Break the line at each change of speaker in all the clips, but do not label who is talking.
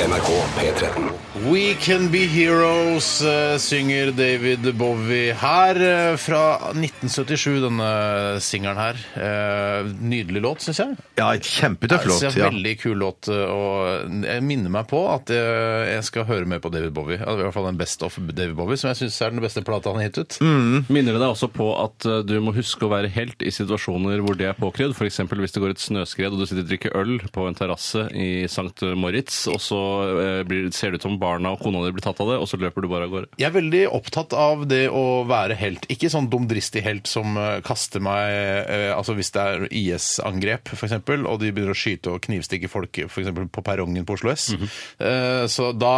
NRK P13.
We Can Be Heroes eh, synger David Bowie her eh, fra 1977, denne singelen her. Eh, Nydelig låt, syns jeg.
Ja, et kjempetøff låt.
Altså,
Ja.
Veldig kul låt. eh, Og jeg minner meg på at eh, jeg skal høre mer på David Bowie. Ja, I hvert fall en Best of David Bowie, som jeg syns er den beste plata han har gitt ut.
Minner det deg også på at eh, du må huske å være helt i situasjoner hvor det er påkrevd? F.eks. hvis det går et snøskred og du sitter og drikker øl på en terrasse i St. Moritz, og så eh, blir, ser det ut som barna og kona di blir tatt av det, og så løper du bare av gårde.
Jeg er veldig opptatt av det å være helt. Ikke sånn dumdristig helt som eh, kaster meg eh, Altså hvis det er IS-angrep, f.eks., og de begynner å skyte og knivstikke folk for eksempel, på perrongen på Oslo S.
Mhm.
Eh, Så da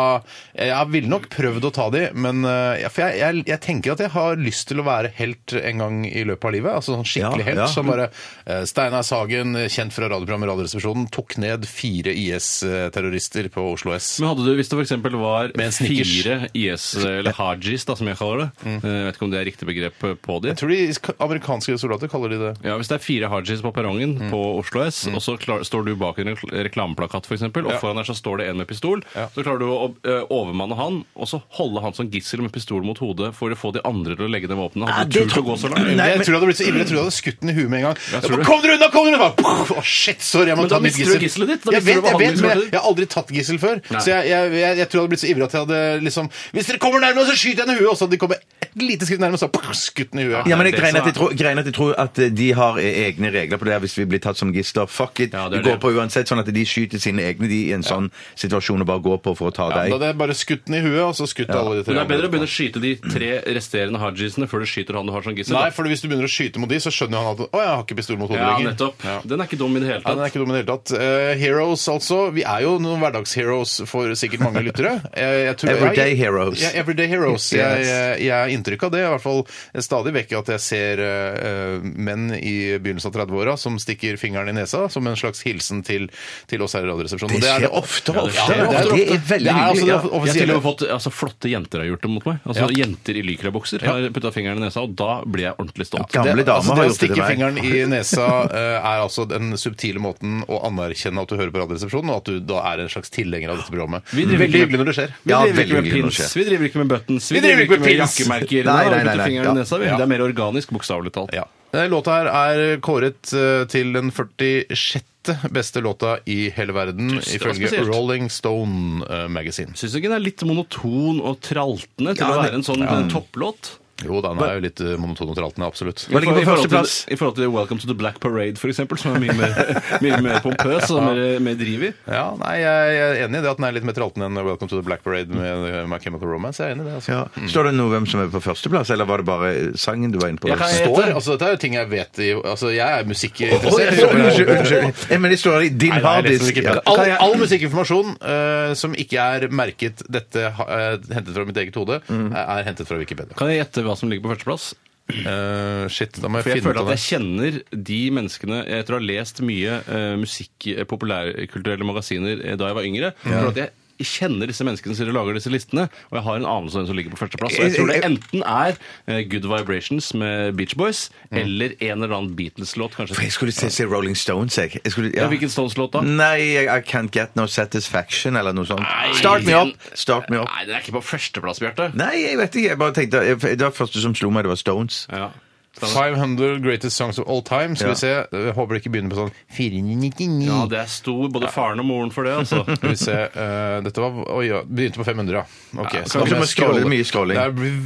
Jeg ville nok prøvd å ta de, men eh, ja, For jeg, jeg, jeg tenker at jeg har lyst til å være helt en gang i løpet av livet. Altså sånn skikkelig
Ja,
helt.
ja.
Som bare eh, Steinar Sagen, kjent fra radioprogrammet Radioresepsjonen, tok ned fire IS-terrorister på Oslo S.
Men hadde du, Hvis det f.eks. var
Med en snickers.
fire IS, eller hajis, da, som jeg kaller det eh, Jeg vet ikke om det er riktig begrep eh, på de.
Jeg tror de amerikanske soldater kaller de det.
Ja, Hvis det er fire hajis på perrongen
Mm.
på Oslo S, og så klar, står du bak en rekl- reklameplakat, f.eks., og
Ja.
foran der så står det en med pistol,
Ja.
så klarer du å eh, overmanne han, og så holde han som gissel med pistol mot hodet for å få de andre til å legge ned våpenet.
Ja,
Hadde du
det
turt å
tror-
gå så langt?
jeg
Nei, men-
Ah, tror det hadde blitt så ille. Jeg tror jeg hadde skutt den i huet med en gang. Jeg
tror
bare,
det.
kom dere unna! kom dere unna! Bare, puff, Å, shit, sorry, jeg må
Men
ta
da
et nytt
mister du
gissel.
gisselet ditt, da
Jeg
mister du
vet, jeg vet, men jeg,
behandlingsmetoder.
jeg har aldri tatt gissel før.
Nei.
Så jeg, jeg, jeg, jeg tror jeg hadde blitt så ivrig at jeg hadde liksom Hvis dere kommer nærmere, så skyter jeg den i huet! Og så hadde de kommet et lite skritt nærmere, så puff, skutt den i huet.
Ja, men jeg
Det
greier
som
at jeg,
er-
tror, greier at jeg tror at eh, de har e-, egne regler på det her hvis vi blir tatt som gisler. Fuck it.
Ja, det er
vi går
det.
på uansett, sånn at de skyter sine egne de i en sånn situasjon og bare går på for å
Ja,
ta
da
deg.
hadde jeg bare skutt den i huet, og så skutt alle de tre.
Men det er bedre å
andre.
begynne å skyte de tre resterende hajisene før du skyter han du har som gissel.
Nei,
da.
for hvis du begynner å skyte mot de, så skjønner jo han at Å, jeg har ikke pistol mot hodet
ja,
lenger.
nettopp.
Ja.
Den er ikke dum i det hele
Ja, den
tatt.
er ikke dum i det hele tatt. Eh, heroes, altså. Vi er jo noen hverdagsheroes for sikkert mange lyttere. Eh, Jeg- jeg tror-
Everyday
jeg-
heroes.
Ja, everyday heroes.
Yes.
Jeg, jeg, jeg har inntrykk av det. I hvert fall stadig vekk at jeg ser eh, eh, menn i begynnelsen av 30-åra som stikker fingeren i nesa som en slags hilsen til, til oss her i Radioresepsjonen.
Det
Og er
skjer oftere og
Ja, det
oftere.
er oftere og
Det er
oftere.
veldig
Det er altså
hyggelig.
det
Jeg har
off-
ja.
til og med
offisielle.
fått, altså Flotte jenter har gjort det mot meg. Altså Jenter i lykrabukser har putta fingeren i nesa, og da blir jeg ordentlig stolt.
Gamle
Det-
damer
altså, det
har
å
gjort det
stikke
til
fingeren
meg.
i nesa eh, er altså den subtile måten å anerkjenne at du hører på Radioresepsjonen, og at du da er en slags tilhenger av dette programmet.
Vi driver
Veldig
ikke-
hyggelig når det skjer.
Vi
Ja,
driver ikke
veldig
med
hyggelig
pins,
når det skjer.
vi driver ikke med buttons, vi,
Vi driver ikke med pins.
jakkemerker.
Nei,
Nei,
nei,
vi
nei,
putter
nei.
fingeren
Ja.
i nesa, vi.
Ja.
Det er mer organisk, bokstavelig talt.
Ja. Denne Låta her er kåret eh, til den 46. beste låta i hele verden,
det var
ifølge
spesielt.
Rolling Stone eh, Magazine.
Syns du ikke den er litt monoton og traltende til
Ja,
å
det-
være en sånn eh, topplåt?
Jo da, den er jo litt eh, monoton og traltende, absolutt.
Hva ligger på
I forhold til-
førsteplass?
I forhold til Welcome to the Black Parade, for eksempel, som er mye mer, mye mer pompøs og mer, mer driv i.
Ja, nei, jeg er enig i det at den er litt mer traltende enn Welcome to the Black Parade med eh, My Chemical Romance. Jeg er enig i det. altså.
Ja. Står det noe hvem som er på førsteplass, eller var det bare sangen du var inne på?
Jeg kan-
Det Står, altså Dette er jo ting jeg vet i Altså, jeg er
Oi,
musikkinteressert.
Unnskyld. unnskyld, unnskyld. Eh, Men det står i din
Nei, nei, jeg leser
harddisk.
ikke.
Ja.
All, all musikkinformasjon eh, som ikke er merket 'dette ha- eh, hentet fra mitt eget hode', er, er hentet fra Wikipedia.
Kan jeg gjette hva som ligger på førsteplass?
Eh, shit, da må
For jeg
jeg, finne ut
føler
av
at
det.
jeg kjenner de menneskene Jeg tror jeg har lest mye eh, musikk, eh, populærkulturelle magasiner eh, da jeg var yngre. For at jeg kjenner disse menneskene som lager disse listene, og jeg har en anelse om hvem som ligger på førsteplass. Og jeg tror det
eh,
enten er eh, Good Vibrations med Beach Boys,
Mm.
eller en eller annen Beatles-låt,
For
kanskje.
jeg skulle si si Rolling Stones, jeg. jeg skulle,
Ja, hvilken Stones-låt da?
Nei, I, I Can't Get No Satisfaction, eller noe sånt.
Nei,
Start me
den-
up! Start me up.
Nei, den er ikke på førsteplass, Bjarte.
Nei, jeg vet ikke. jeg bare tenkte, jeg- Det var første som slo meg, det var Stones.
Ja.
500 Greatest Songs of All Time. Skal
Ja.
vi se. Jeg håper det ikke begynner på sånn 499.
ja, det er stor både faren og moren for det, altså.
Skal vi se. eh, dette var Oi, ja. Begynte på 500, ja. Ok.
Ja,
så
kan
da må jeg
vi ikke bare scrolle?
scrolle.
Mye scrolling.
Det blir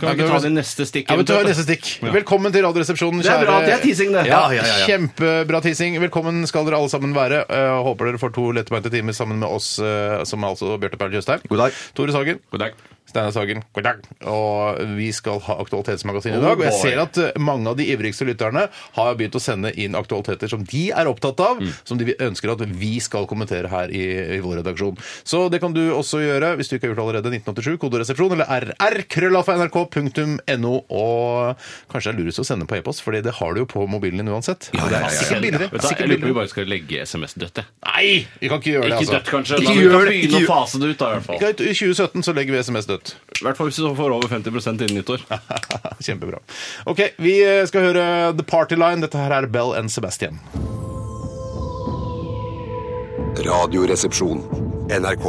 Kan vi
Nei,
ikke ta
det-
det i neste stikk?
Ja, men ta
eventuelt, da?
neste stikk.
Ja.
Velkommen til Radioresepsjonen,
Det er bra at det er teasing, det.
Ja, ja,
Ja,
ja,
ja, ja.
Kjempebra teasing. Velkommen skal dere alle sammen være. Eh, håper dere får to lettbeinte timer sammen med oss, eh, som er altså Bjarte Perl Tjøstheim.
God dag.
Tore Sagen.
God dag.
Steinar Sagen, god dag. Og vi skal ha Aktualitetsmagasinet i dag. Og jeg ser at eh, mange av de ivrigste lytterne har begynt å sende inn aktualiteter som de er opptatt av,
Mm.
som de ønsker at vi skal kommentere her i, i vår redaksjon. Så det kan du også gjøre hvis du ikke har gjort det allerede. 1987, kodoresepsjon eller rr.krøllalfa.nrk.no. Og kanskje det er lurest å sende på e-post, fordi det har du jo på mobilen din uansett. Og det er sikkert billigere.
Vet du, hva,
sikkert
jeg lurer på om vi
billigere.
bare skal legge SMS-dødt, jeg.
Nei! Vi kan ikke gjøre det,
Ikke
altså.
dødt, kanskje.
Ikke
men vi
gjør
kan
det, ikke
begynne å
gjør-
fase det ut, da, i hvert fall.
Greit, I 2017 så legger vi SMS dødt.
I hvert fall hvis du får over 50 innen nyttår.
Kjempebra. Ok, vi eh, skal høre The Party Line. Dette her er Bell and Sebastian.
Radioresepsjon. NRK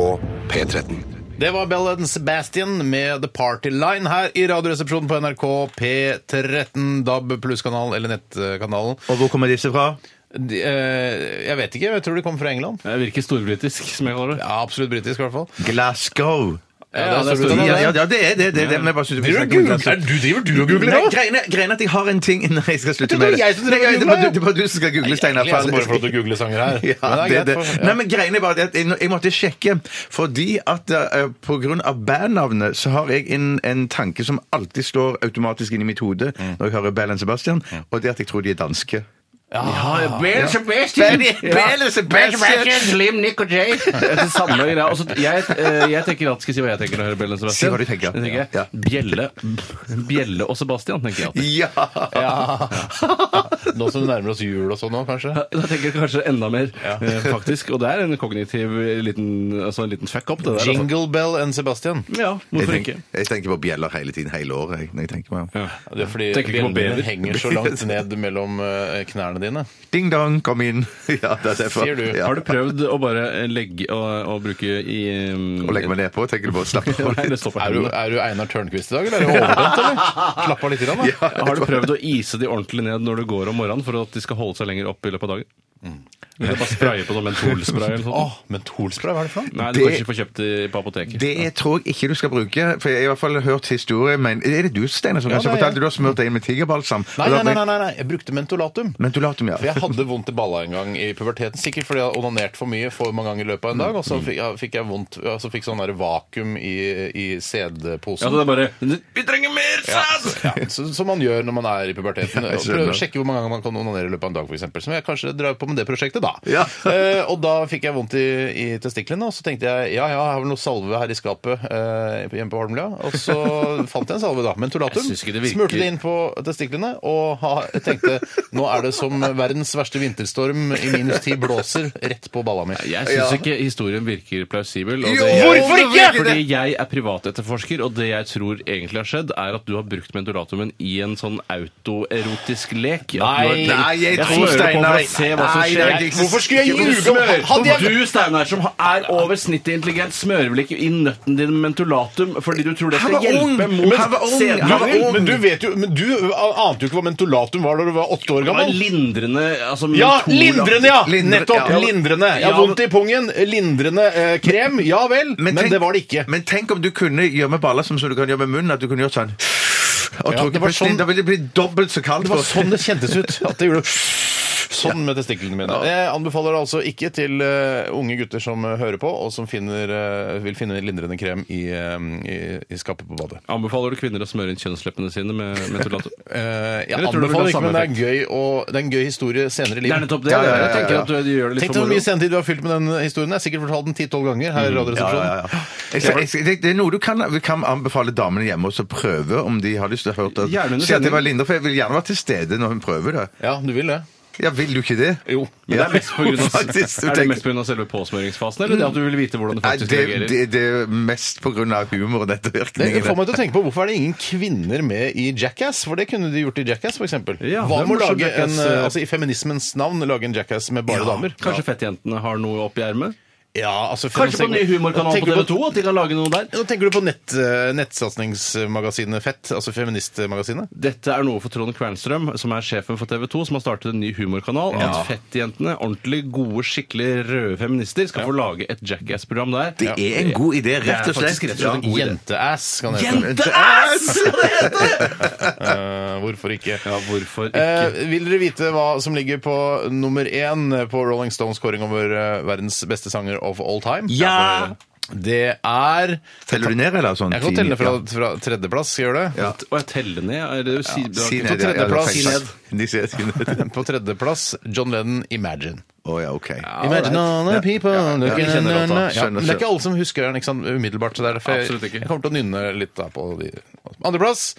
P13.
Det var Bell and Sebastian med The Party Line her i Radioresepsjonen på NRK P13, DAB pluss-kanalen eller nettkanalen.
Og hvor kommer disse fra?
De, eh, jeg vet ikke, jeg tror de kommer fra England.
Jeg virker storbritisk, som jeg kaller det.
Ja, absolutt britisk, i hvert fall.
Glasgow.
Ja, det er
Ja,
Storbritannia.
ja, ja, det er det. det, er det men jeg bare synes vi snakker om Glasgow.
driver du og
Nei, greiene, greiene at jeg har en ting Nei, jeg skal slutte
Det var
med det.
jeg som drev
Nei,
og
det var
googlet.
du- det var du som skal google, Steinar.
Egentlig er det bare for at altså, du googler sanger her. Men
Ja,
det
det,
er
det.
greit, for- ja.
Nei, men greiene er bare det at jeg, jeg måtte sjekke, fordi at eh, på grunn av bandnavnet så har jeg en, en tanke som alltid står automatisk inni mitt hode når jeg hører Bell and Sebastian, og det er at jeg tror de er danske.
Ja, Bell
Sebastian! Bell and Sebastian!
Slim Nick og Jay. Det samme greia. Altså, jeg, eh, jeg tenker at, Skal jeg si hva jeg tenker når jeg hører Bellen Sebastian?
Si hva du tenker.
Jeg tenker
Ja.
Bjelle, Bjelle og Sebastian, tenker jeg alltid.
Ja!
Nå som det nærmer oss jul og sånn nå, kanskje.
Da tenker jeg kanskje enda mer, eh, faktisk. Og det er en kognitiv liten, altså, en liten fuck up, det der. altså.
Jingle Bell and Sebastian.
Ja,
Jeg
hvorfor ikke?
tenker, jeg tenker på bjeller hele tiden, hele året. jeg, når jeg tenker meg om.
Det er fordi
Tenker ikke på
bjellene
bever.
henger så langt ned mellom eh, knærne dine.
Ding dong, kom inn! Ja, det er derfor.
Sier du.
Ja.
Har du prøvd å bare legge og, og bruke i um,
Å legge meg nedpå, tenker du på å slappe av
Nei, det
litt?
står på
Er du,
hendene.
er du Einar Tørnquist i dag, eller er du overdømt, eller? Slapp av litt, grann, da.
Har du prøvd å ise de ordentlig ned når du går om morgenen, for at de skal holde seg lenger opp i løpet av dagen?
Mm.
Eller bare spraye på sånn noe mentolspray eller noe sånt?
Åh, mentolspray, hva er det for noe?
Nei, du kan
det-
ikke få kjøpt det på apoteket.
Det tror jeg ikke du skal bruke, for jeg har i hvert fall hørt historier, men er det du, Steinar, som
Ja,
kanskje
det er
fortalte
jeg.
du har smurt deg inn med tigerbalsam?
Nei, nei, nei, nei, nei, nei, jeg brukte mentolatum.
Men du later meg,
For
ja.
jeg hadde vondt i balla en gang i puberteten, sikkert fordi jeg hadde onanert for mye for mange ganger i løpet av en dag, og så fikk jeg, fikk jeg vondt, altså fikk sånn der vakuum i, i
Ja, så det
sædposen.
er bare Vi trenger mer sæd!
Altså, Ja, så- som man gjør når man er i puberteten.
jeg
Og Prøv å
skjønner.
sjekke hvor mange ganger man kan onanere i løpet av en dag, for eksempel. Som jeg kanskje drev på med det prosjektet da.
Ja.
Eh, og da fikk jeg vondt i, i testiklene, og så tenkte jeg ja, ja, jeg har vel noe salve her i skapet eh, hjemme på Holmlia. Og så fant jeg en salve, da. Mentolatum.
Jeg synes ikke det virker-
Smurte det inn på testiklene og ha, tenkte nå er det som verdens verste vinterstorm i minus ti blåser rett på balla mi.
Jeg syns ikke historien virker plausibel. og
Jo,
det-
hvorfor ikke?
Fordi jeg er privatetterforsker, og det jeg tror egentlig har skjedd, er at du har brukt mentolatumen i en sånn autoerotisk lek. At du har tenkt-
nei, jeg tror
smører på
Steinar-
for å se hva som
Nei,
skjer.
nei, det er ikke- Hvorfor
skulle jeg
Du
ljuge om-
smører
Hadde jeg-
på- Du, Steinar, som er over snittet intelligent, smører vel ikke i nøtten din med mentolatum fordi du tror det
Han
skal
var ung!
hjelpe mot
Han var ung! Han var
sedmangel?
ung!
Men du vet jo, men du ante jo ikke hva mentolatum var da du var åtte år
Det var
gammel.
Lindrende altså,
Ja,
mentol-
lindrende, ja!
Lindre-
Nettopp.
ja.
Lindrende. Jeg har
Ja, men-
vondt i pungen. Lindrende eh, krem. Ja vel. Men,
tenk-
det var det ikke.
Men tenk om du kunne gjøre med baller som som du kan gjøre med munnen, at du kunne gjort sånn og
Ja,
tråkke
det var
pusten inn.
sånn-
Da ville det bli dobbelt så kaldt.
Det var
for-
sånn det kjentes ut. At det gjorde Sånn med testiklene mine. Jeg anbefaler det altså ikke til eh, unge gutter som eh, hører på, og som finner, eh, vil finne lindrende krem i, eh, i, i skapet på badet.
Anbefaler du kvinner å smøre inn kjønnsleppene sine med mentolatum?
Eh, jeg
Eller tror du det
anbefaler
vil ha
ikke, men det
samme
er, gøy og, det er en gøy historie senere i
Det er
livet.
nettopp det.
Ja, ja, ja, ja,
Jeg
ja.
tenker at du, du gjør det litt
Tenk deg
for
hvor mye
moro.
sendetid du har fylt med den historien. Jeg har sikkert fortalt den 10-12 ganger her i
Ja,
Radioresepsjonen.
ja, ja. Jeg, skal- jeg, skal- det, det er noe du kan, vi kan anbefale damene hjemme også å prøve, om de har lyst til å høre det.
Gjerne under
Si at
sending.
det var Linda, for jeg vil gjerne være til stede når hun prøver det.
Ja, du vil det?
Ja, vil du ikke det?
Jo.
Men det er mest på grunn av,
Faktisk, du
er det
tenker-
mest på grunn av selve påsmøringsfasen, eller det at du vil vite hvordan det
Nei,
faktisk
det,
reagerer?
det, det er mest på grunn av humor og
Det
ettervirkningene.
får meg til å tenke på Hvorfor er det ingen kvinner med i Jackass? For det kunne de gjort i Jackass, f.eks.
Ja, det er
Hva med å
morsomt
lage en,
Jackass, eh,
altså, i feminismens navn lage en Jackass med bare damer?
Kanskje fettjentene har noe oppi ermet?
Ja, altså
Kanskje på den nye humorkanalen på
Tenker du
TV2 at de kan lage noe der?
Nå tenker du på nett, eh, nettsatsningsmagasinet Fett, altså feministmagasinet.
Dette er noe for Trond Kvernstrøm, som er sjefen for TV2, som har startet en ny humorkanal. At fettjentene, ordentlig gode, skikkelig røde feminister, skal få lage et Jackass-program der.
Det er en god idé, rett og slett.
faktisk rett og slett en god idé.
Jenteass, kan det hete.
Jenteass!
Eh, hvorfor ikke?
Ja, hvorfor ikke?
Eh, vil dere vite hva som ligger på nummer én på Rolling Stones kåring over eh, verdens beste sanger of all time?
Ja!
Det er
Teller du ned, eller? Sånn,
Jeg kan
ti-
telle fra,
ja.
fra tredjeplass, skal jeg gjøre det?
Ja.
Og jeg teller ned. Er det, si, du har
Si
ikke-
ned,
på
ja, ja,
tredjeplass.
feil
Si
sagt. De sier si ned.
På tredjeplass John Lennon, 'Imagine'.
Å ja, OK.
Imagine all the people looking
Jeg kjenner
na, na, na.
låta.
ja,
Skjønner
Men det er ikke alle som husker den ikke sant, umiddelbart. Så det er derfor jeg,
Absolutt ikke.
jeg kommer til å nynne litt da på de Andreplass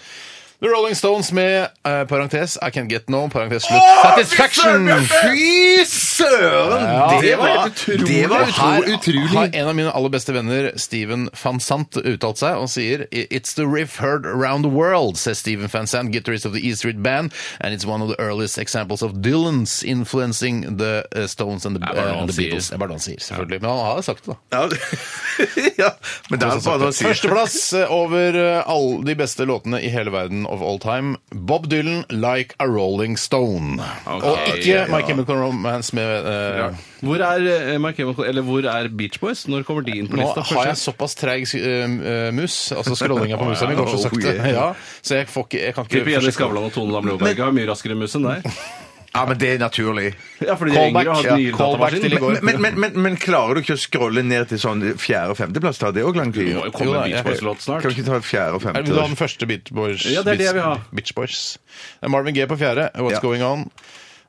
The Rolling Stones med eh, parentes I Can't Get No, parentes slutt. Satisfaction!
Fy søren!
Ja,
det var
utrolig.
Det var
Og her
utro, utrolig.
har en av mine aller beste venner, Steven Van Sant, uttalt seg og sier It's the riff heard around the world, says Steven Van Sant, guitarist of the E Street Band, and it's one of the earliest examples of Dylan's influencing the uh, Stones and the,
er bare
uh,
noe
and the
han sier.
Beatles. Det er bare det han sier, selvfølgelig. Men han har sagt det, da.
Ja, ja, men det er bare å si
Førsteplass over eh, alle de beste låtene i hele verden of all time. Bob Dylan, 'Like a Rolling Stone'.
Ok,
og ikke
ja.
My Chemical Romance med eh,
Hvor er, eh, My Chemical- eller hvor er Beach Boys? Når kommer de inn på
Nå
lista?
har jeg såpass treig sk- eh, eh, mus, altså scrollinga på musa mi går så
Oh,
sakte.
yeah.
Ja, så jeg, får ikke, jeg kan
Tipper Jenny
ikke
Skavlan og Tone Damli Aaberge har mye raskere mus enn deg.
Ja, men det er naturlig.
Ja, fordi de er
Callback,
yngre og har
ja.
nyere
Callback
datamaskin.
til i
Men-
går.
Men, men, men, men, men klarer du ikke å scrolle ned til sånn fjerde- og femteplass? Tar det òg lang tid?
Det må jo
Jo
komme
da,
en Beach
jeg-
Boys-låt snart.
Kan vi ikke ta fjerde- og
Er det da den
femte?
første Beach Boys?
Ja, det er det jeg vil ha.
Beach Boys. Det er Marvin G på fjerde. What's
Ja.
going on?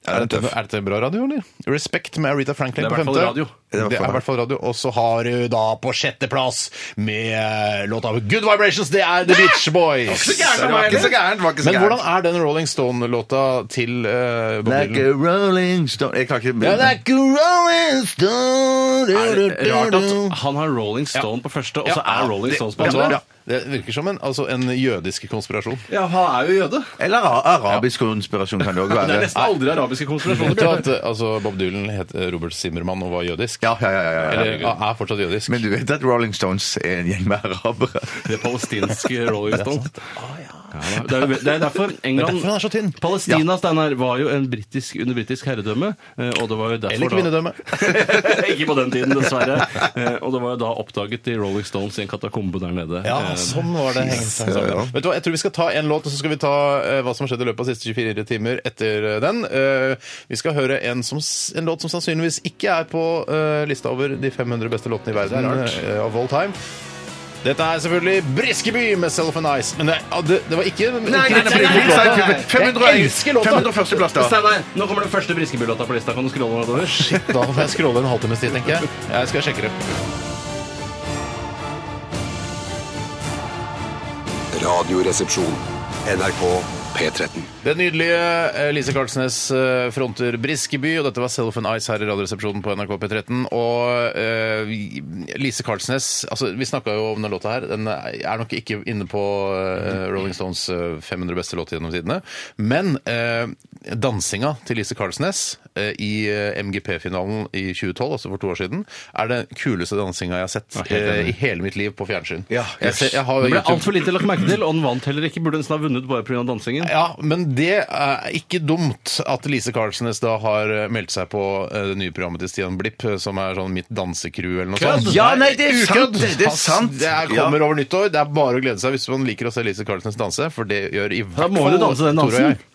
Er det, er dette bra radio, eller? Respect med Aretha Franklin
Det er
på
i hvert
femte.
fall radio.
Det er i hvert fall radio. Og så har du da på sjetteplass med eh, låta Good Vibrations, det er The Beach Boys.
Det var ikke så gærent! det var ikke så
Men hvordan
gærent.
er den Rolling Stone-låta til eh, Bob
Like
Dylan?
a rolling stone Jeg klarer
Ja,
ikke
like a Rolling Stone
Er det rart at han har Rolling Stone på første, og så er Rolling Stones på
Vet du hva?
andre?
Det virker som en, altså en jødisk konspirasjon.
Ja, han er jo jøde.
Eller a- arabisk konspirasjon kan det òg
Det er
være.
nesten aldri arabiske
Vet
konspirasjoner.
du at eh, altså, Bob Dylan het eh, Robert Zimmermann og var jødisk?
Ja, ja, ja, ja, ja.
Eller ja, er fortsatt jødisk.
Men du vet at Rolling Stones er en gjeng med arabere?
Det palestinske Rolling Stones. Ah, Ja, da. Det er jo- det er derfor England
derfor han er så tynn.
Palestina Steinar, var jo en britisk, under britisk herredømme. eh, Og det var jo derfor
Eller
da-
kvinnedømme.
Ikke på den tiden, dessverre. Eh, Og det var jo da oppdaget de Rolling Stones i en katakombe der nede.
Ja,
Eh,
sånn var det hengt seg sammen. Vet du hva, Jeg tror vi skal ta en låt, og så skal vi ta eh, hva som har skjedd i løpet av de siste 24 timer etter eh, den. Eh, vi skal høre en, som, s- en låt som sannsynligvis ikke er på eh, lista over de 500 beste låtene i verden eh, of all time. Dette er selvfølgelig Briskeby med Self and Ice. Men det, ja, det, det var ikke Nei, Jeg elsker låta!
500 førsteplass, da.
Steinar, nå kommer den første Briskeby-låta på lista. Kan du scrolle nedover?
Da får jeg scrolle en halvtimes tid, tenker jeg. Jeg skal sjekke det.
Radioresepsjon. NRK P13.
Den nydelige eh, Lise Karlsnes eh, fronter Briskeby, og dette var Self and Ice her i Radioresepsjonen på NRK P13. Og eh, vi- Lise Karlsnes altså Vi snakka jo om den låta her. Den eh, er nok ikke inne på eh, Rolling Stones eh, 500 beste låter gjennom tidene. Men eh, dansinga til Lise Karlsnes eh, i eh, MGP-finalen i 2012, altså for to år siden, er den kuleste dansinga jeg har sett
helt
eh,
enig.
i hele mitt liv på fjernsyn.
Ja,
jeg,
yes.
ser, jeg har
Det ble
YouTube-
altfor lite lagt merke til, og den vant heller ikke. Burde nesten ha vunnet bare pga. dansingen.
Ja, men det er ikke dumt at Lise Karlsnes da har meldt seg på eh, det nye programmet til Stian Blipp, eh, som er sånn Mitt dansecrew eller noe sånt.
Ja, nei, det er sant,
ukødd.
det er
Pass,
sant.
Det er, kommer over nyttår. Det er bare å glede seg hvis man liker å se Lise Karlsnes danse, for det gjør i hvert
Da
fall
må du danse den
Tore og
dansen.
jeg.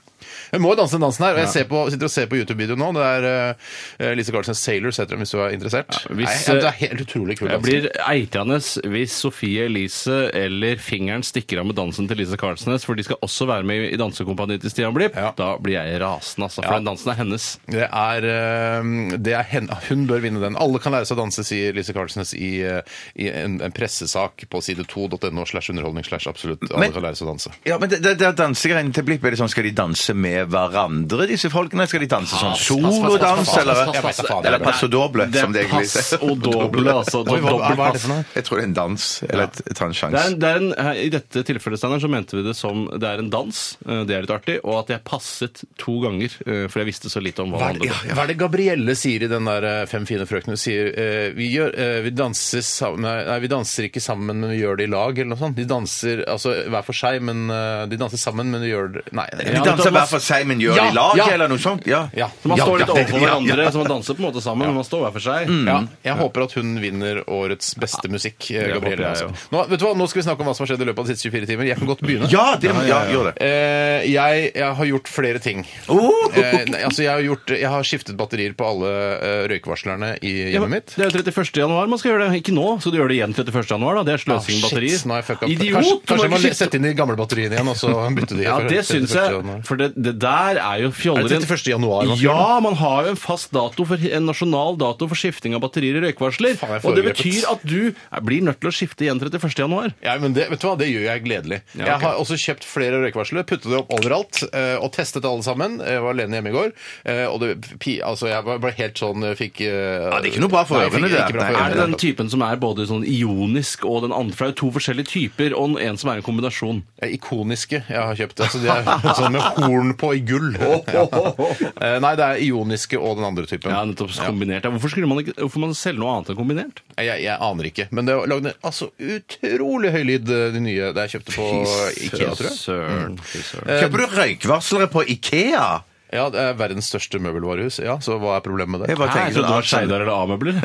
Hun må jo danse den dansen her. og Jeg ser på, sitter og ser på YouTube-videoen nå. Det er eh, Lise Karlsnes Sailors heter den, hvis du er interessert.
Ja, hvis, eh,
nei, det er helt utrolig
Jeg
kul dans.
blir eitende hvis Sofie Elise eller fingeren stikker av med dansen til Lise Karlsnes, for de skal også være med i dansekompaniet til Stian Blipp.
Ja.
Da blir jeg rasende, altså, for
Ja.
den dansen er hennes.
Det er, eh, det er hen, hun bør vinne den. Alle kan lære seg å danse, sier Lise Karlsnes i, eh, i en, en pressesak på side 2.no slash underholdning slash absolutt. Alle
Men-
kan lære seg å danse.
Ja, men det, det, det er dansegreiene til Blipp, er det sånn, skal de danse med hverandre, disse folkene? Skal de danse sånn solodans, eller,
pass, pass, pass, pass.
eller passo doble,
Det
som det
er
egentlig
pass og doble, altså.
Oi, hva- hva er det
Dobbeltpass.
for noe?
Jeg tror det er en dans, eller et, ta en
Det
sjanse.
er en, det er en, her- I dette tilfellet Steiner, så mente vi det som det er en dans, eh, det er litt artig, og at jeg passet to ganger, eh, for jeg visste så lite om hva
Hva
det
er, det,
handlet om.
ja, hva er det Gabrielle sier i den der eh, Fem fine frøkene? Hun sier eh, vi, gjør, eh, vi, danser sammen, nei, nei, vi danser ikke sammen, men vi gjør det i lag, eller noe sånt. De danser altså, hver for seg, men eh, de danser sammen, men de gjør det Nei. nei,
De
ja,
danser
vet du hva?
hver for seg, men gjør det i lag,
ja.
eller noe sånt? Ja.
Ja.
Så man
Ja,
står litt
ja, Mm.
overfor
ja, ja.
hverandre, så man danser på en måte sammen, men man står hver for seg.
Ja, jeg håper at hun vinner årets beste musikk. eh,
Mm. Det håper
Gabrielle,
jeg, ja.
altså. nå, vet du hva? nå skal vi snakke om hva som har skjedd i løpet av de siste 24 timer. Jeg kan godt begynne.
Ja, det, må- ja, gjør det.
Eh, jeg, jeg har gjort flere ting.
Oh!
Eh, nei, altså jeg, har gjort, jeg har skiftet batterier på alle eh, røykvarslerne i
Ja,
hjemmet
men
mitt.
Det er jo 31. januar man skal gjøre det. Ikke nå, så du gjør det igjen 31. januar. da. Det er sløsing med
Ah,
batterier.
shit, nå har jeg fucka opp.
Idiot! du
Kanskje,
må
kanskje jeg må
ikke skifte-
sette inn de gamle batteriene igjen, og så bytte de.
Ja,
for
det
31.
syns jeg.
januar.
For det, det der er jo fjoller.
Er det 31. januar man skal gjøre
Ja, man har jo en fast dato, for, en nasjonal dato for skifting av batterier i røykvarsler.
Faen, jeg er
og det
foregrepet.
betyr at du eh, blir nødt til å skifte igjen 31. januar.
Ja, men det, vet du hva, det gjør jeg gledelig.
Ja,
Jeg
ok.
har også kjøpt flere røykvarslere, puttet det opp overalt eh, og testet alle sammen. Jeg var alene hjemme i går, eh, og det, pi, altså, jeg var- ble helt sånn eh, fikk Ja,
det er ikke noe bra for ørene, det. Nei,
Er det
det er
den typen som er både sånn ionisk og den andre? For det er jo to forskjellige typer, og en som er en kombinasjon.
Ja, Ikoniske jeg har kjøpt. Altså, de er sånn med horn på i gull. Ja. Eh, Nei, det er ioniske og den andre typen.
Ja, nettopp kombinert. Ja, hvorfor skulle man ikke hvorfor man selge noe annet enn kombinert?
Jeg, jeg aner ikke. Men det lagde altså, utrolig høy lyd, eh, de nye det jeg kjøpte på eh, Ikea, tror jeg.
Søren. Fy søren.
Eh,
Kjøper du røykvarslere på Ikea?
Ja, det er verdens største møbelvarehus. Ja, Så hva er problemet med det?
Jeg
Hæ,
bare
Jeg trodde
tenker sånn
det var
alt sånn-
Skeidar eller A-møbler.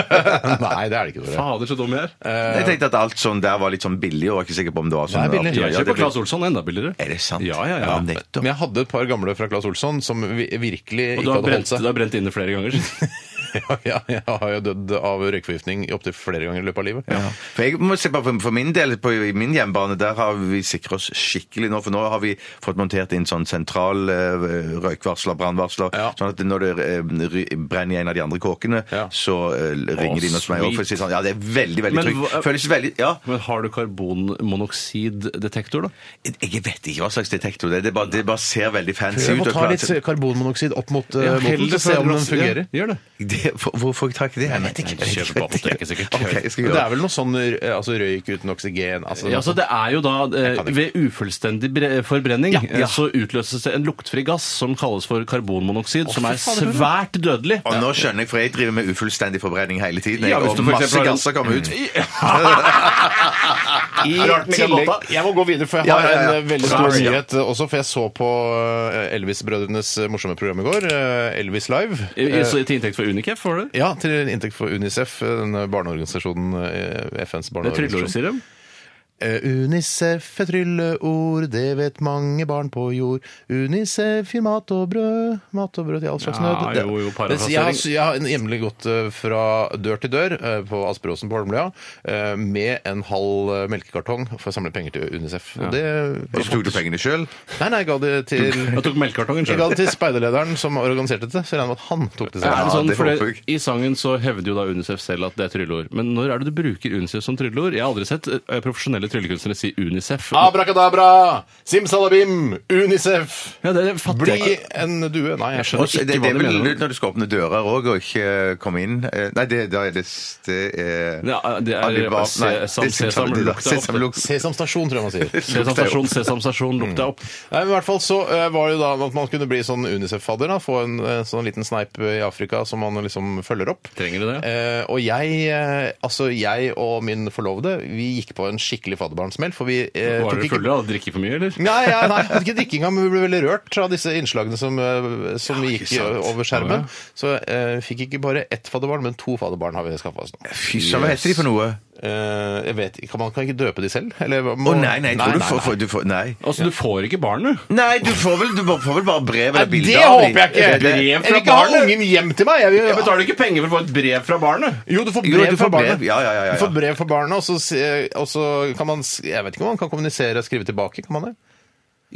Nei, det er det ikke. Dere.
Fader, så dum jeg er.
Jeg tenkte at alt sånn der var litt sånn billig, og var ikke sikker på om det var sånn.
Det er billig.
alltid var.
Jeg
Ja, det
kjøper
er
Claes Olsson enda billigere.
billig. Er det sant?
Ja, ja, ja.
nettopp.
Men jeg hadde et par gamle fra Claes Olsson som vi-
Og
virkelig ikke
du har
hadde
brent,
holdt
du
seg.
har brent inne flere ganger.
Ja, ja, jeg har jo dødd av røykforgiftning opptil flere ganger i løpet av livet.
For, jeg må se på, for for min del, på, i min hjemmebane, der har vi sikret oss skikkelig nå. For nå har vi fått montert inn sånn sentral eh, røykvarsler, brannvarsler.
Ja.
Sånn at når det eh, ry- brenner i en av de andre kåkene,
Ja.
så eh, ringer de inn hos
sweet.
meg òg. For å si sånn, ja, det er veldig, veldig
Men
trygt.
hva-
Føles veldig Ja.
Men har du karbonmonoksiddetektor, da?
Jeg jeg vet ikke hva slags detektor det er. Det bare, det bare ser veldig fancy
Prøv å
ut. og
ta
klart-
litt karbonmonoksid opp mot eh,
Ja,
moten,
heller
så se
fra
om den
glass- ja,
fungerer.
Gjør det.
det, hvor, hvor får jeg tak i det? Jeg vet ikke.
Jeg kjøper på apoteket, sikkert.
Ok, jeg skal
Men
gjøre
Det er vel noe sånn eh, altså, røyk uten oksygen altså,
Ja, altså det er jo da eh,
kan ikke.
Ved ufullstendig bre- forbrenning eh, så utløses det en luktfri gass som kalles for karbonmonoksid, som er svært dødelig.
Og nå skjønner jeg, for jeg driver med ufullstendig forbrenning hele tiden.
Ja,
jeg,
hvis
og
du for
masse
eksempel har en-
gasser kommer ut.
I
Rart, Mikael
tillegg-
Botta.
Jeg må gå videre, for jeg
Ja,
har
ja, ja.
en eh, veldig
Sorry,
stor
ja.
nyhet eh, også. For jeg så på eh, Elvis-brødrenes eh, morsomme program i går, eh, Elvis Live.
I- i- så Til inntekt for Unicef, får du det?
Eh, Ja, til inntekt for UNICEF, den barneorganisasjonen, eh, FNs
Det er trylleord,
barneorganisasjon.
sier de.
Eh, UNICEF er trylleord, det vet mange barn på jord. UNICEF gir mat og brød, mat og brød til all slags
Ja,
nød.
jo, jo,
Mens jeg, har-
parafrasering.
jeg har hjemlig gått eh, fra dør til dør eh, på Asperåsen på Holmlia eh, med en halv eh, melkekartong for å samle penger til UNICEF. Og det,
Og så tok du pengene sjøl.
nei, nei, jeg ga det til
Jeg tok melkekartongen
jeg ga
sjøl.
det til speiderlederen som organiserte det, så jeg regner med at han tok det
Er
selv.
det sånn,
det
for
håper
det,
jeg.
I sangen så hevder jo da UNICEF selv at det er trylleord. Men når er det du bruker UNICEF som trylleord? Jeg har aldri sett eh, profesjonelle tryllekunstnere si UNICEF.
Abrakadabra! Simsalabim! Unicef!
Ja, det, det fatter jeg
Bli
ikke.
en due. Nei, jeg skjønner
Det,
Ikke
det
hva
er
du
vel
mener.
lurt når du skal åpne dører òg, og ikke eh, komme inn. Eh, Nei, det, da er det Det er,
Ja, eh, det er
Alibaba-
se-
nei,
sam-
det er
sesamlukta ofte.
Sesamlukt.
Sesam stasjon, tror jeg man sier.
Sesam stasjon, sesam stasjon, lukt deg opp.
Nei, men i hvert fall så eh, var det jo da at man kunne bli sånn Unicef-fadder. da, Få en eh, sånn liten sneip i Afrika som man liksom følger opp.
Trenger du det?
Eh, og jeg eh, altså jeg og min forlovede vi gikk på en skikkelig fadderbarnsmell. For vi eh,
Var dere
ikke-
fulle og drikke for mye, eller?
Nei, ja, nei, jeg hadde ikke drikke engang, men vi ble veldig rørt av disse innslagene som, eh, som gikk
sant.
over skjermen. Så eh, fikk ikke bare ett fadderbarn, men to fadderbarn har vi skaffa oss nå.
Fy søren, hva heter de for noe?
Eh, jeg vet ikke, kan man kan ikke døpe de selv? Eller
Å
må-
nei, nei, jeg tror du får, får, du får Nei.
Altså, du får ikke barn, du.
Nei, du får vel, du får vel bare brev eller
Nei,
bilde
det
av de.
håper jeg ikke!
Det- det-
Brev
Jeg vil ikke ha ungen hjem til meg! Jeg vil,
Jeg betaler ikke penger for å få et brev fra barnet.
Jo, du får
Jo,
brev
du
fra
får brev.
barnet.
Ja, ja, ja, ja,
Du får
ja.
brev fra barnet, og så, se- og så kan man s- Jeg vet ikke om man kan kommunisere og skrive tilbake. Kan man det?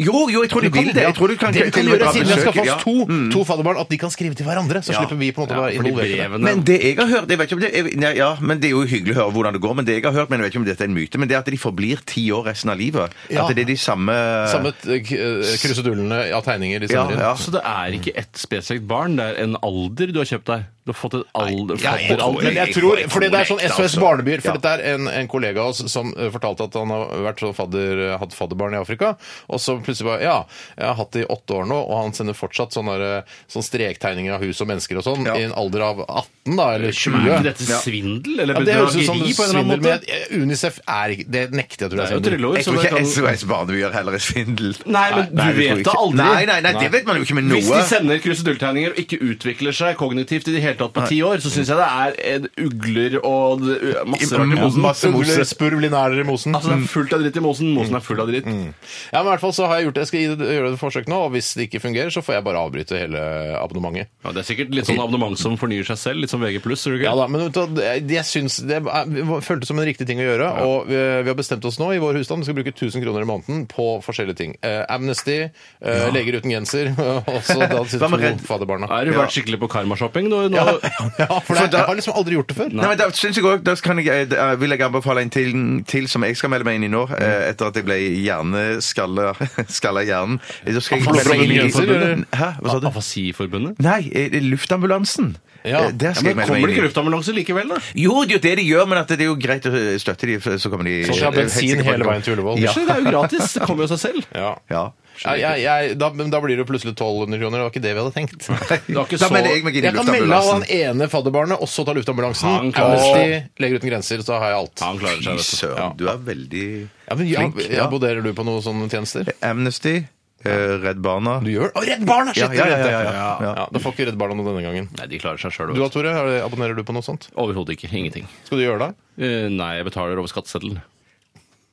Jo, jo, jeg tror de
Du kan
vil det. Jeg tror du kan
det vi kan
til og med
gjøre,
dra
siden vi skal
besøk,
få
ja. Mm.
oss to, to fadderbarn, at de kan skrive til hverandre. Så slipper vi på en måte å være
Ja, fordi
involvert. i det.
brevene
Men det jeg har hørt jeg vet ikke om det, er- nei, ja, men Det er jo hyggelig å høre hvordan det går, men det jeg har hørt, men jeg vet ikke om dette er en myte, men det er at de forblir ti år resten av livet.
Ja.
At det er de samme
Samme eh, k- eh, krusedullene av tegninger de
ja,
sender inn.
ja.
Så det er ikke ett spesifikt barn, det er en alder du har kjøpt deg. Du har fått et alder...
Ja,
fatter
jeg,
alder.
men jeg tror, fordi det er sånn
Korrekt,
SOS
altså.
Barnebyer For dette er en, en kollega av oss som eh, fortalte at han har vært sånn fadder, hatt fadderbarn i Afrika. Og så plutselig bare Ja, jeg har hatt det i åtte år nå, og han sender fortsatt sånne, der, eh, sånn strektegninger av hus og mennesker og sånn i en alder av 18, da,
Eh,
Men
eller
Er ikke
20.
dette svindel eller
Ja, det høres ut som
bedrageri på en eller annen
svindel, men
måte?
jeg- Unicef er ikke Det nekter jeg, tror
Det er jo
jeg. er svindel.
trylleord,
Jeg
så
tror
det
ikke
kan-
SOS Barnebyer heller er svindel.
sånn- Nei, men
Nei,
du
det tror
vet
jeg
det
ikke.
aldri.
Nei, nei, nei, det vet man jo ikke med
Hvis de
noe.
sender krusedulltegninger og ikke utvikler seg kognitivt i det hele tatt på ti år, så syns jeg det er en ugler og det- u- masse rart i mosen.
Masse
Ugler,
mose.
Mm. spurv, lineærer i mosen.
Altså, det er fullt av dritt i mosen. Mosen er full av dritt.
Mm.
Ja, men i hvert fall så har jeg gjort det. Jeg skal gi det- gjøre det et forsøk nå, og hvis det ikke fungerer, så får jeg bare avbryte hele abonnementet.
Ja, det er sikkert litt
Mm.
sånn abonnement som fornyer seg selv, litt som VG+. tror du ikke?
Ja da, men vet du hva, jeg, jeg syns det er- det føltes som en riktig ting å gjøre. Og vi, vi har bestemt oss nå i vår husstand vi skal bruke 1000 kroner i måneden på forskjellige ting. Eh, Amnesty, eh, Leger uten genser og så da sitter
Hva med
to
Redd-
faderbarna.
Har du vært skikkelig på karmashopping nå? nå?
Ja, ja, for det,
da-
jeg har liksom aldri gjort det før.
Nei, men da synes jeg også, da kan jeg, eh, da vil jeg anbefale en ting til som jeg skal melde meg inn i nå, eh, etter at jeg ble hjerneskalla skalla i hjernen. Da skal jeg
Afasi-
melde meg inn i-
Afasiforbundet?
Hæ? Hva sa du?
Afasiforbundet?
Nei, eh, Luftambulansen.
Ja.
Eh, Der
Ja,
skal
men
jeg melde meg
kommer det
inn
ikke
i.
luftambulanse likevel, da?
Jo, det er jo det de gjør, men at det er jo greit å støtte de, for så kommer de
Så skal jeg ha
eh, helt
bensin
sikkert på-
hele veien til Ullevål.
Ja.
Så Det er jo gratis. Det kommer jo av seg selv.
Ja.
Ja.
Ja, jeg, jeg, da, men da blir det jo plutselig 1200 kroner. Det var ikke det vi hadde tenkt.
Det var ikke
Da
så-
melder jeg meg inn i
Jeg kan melde av han
Luftambulansen.
ene fadderbarnet og så ta luftambulansen.
Han klarer
Amnesty, Leger uten grenser, så har jeg alt.
Han klarer seg,
Fy
vet du.
søren, du er veldig
Ja, men, ja,
Flink,
ja,
ja.
Abonnerer du på noen sånne tjenester?
Amnesty, eh, Redd Barna
Du gjør Å, Redd Barna! Shit,
Ja, ja, ja,
det glemte jeg.
ja, ja, ja.
Ja, Da får ikke Redd Barna noe denne gangen.
Nei, de klarer seg sjøl.
Du da, Tore? Har du- Abonnerer du på noe sånt?
Overhodet ikke. Ingenting.
Skal du gjøre det?
Eh, Nei, jeg betaler over skatteseddelen.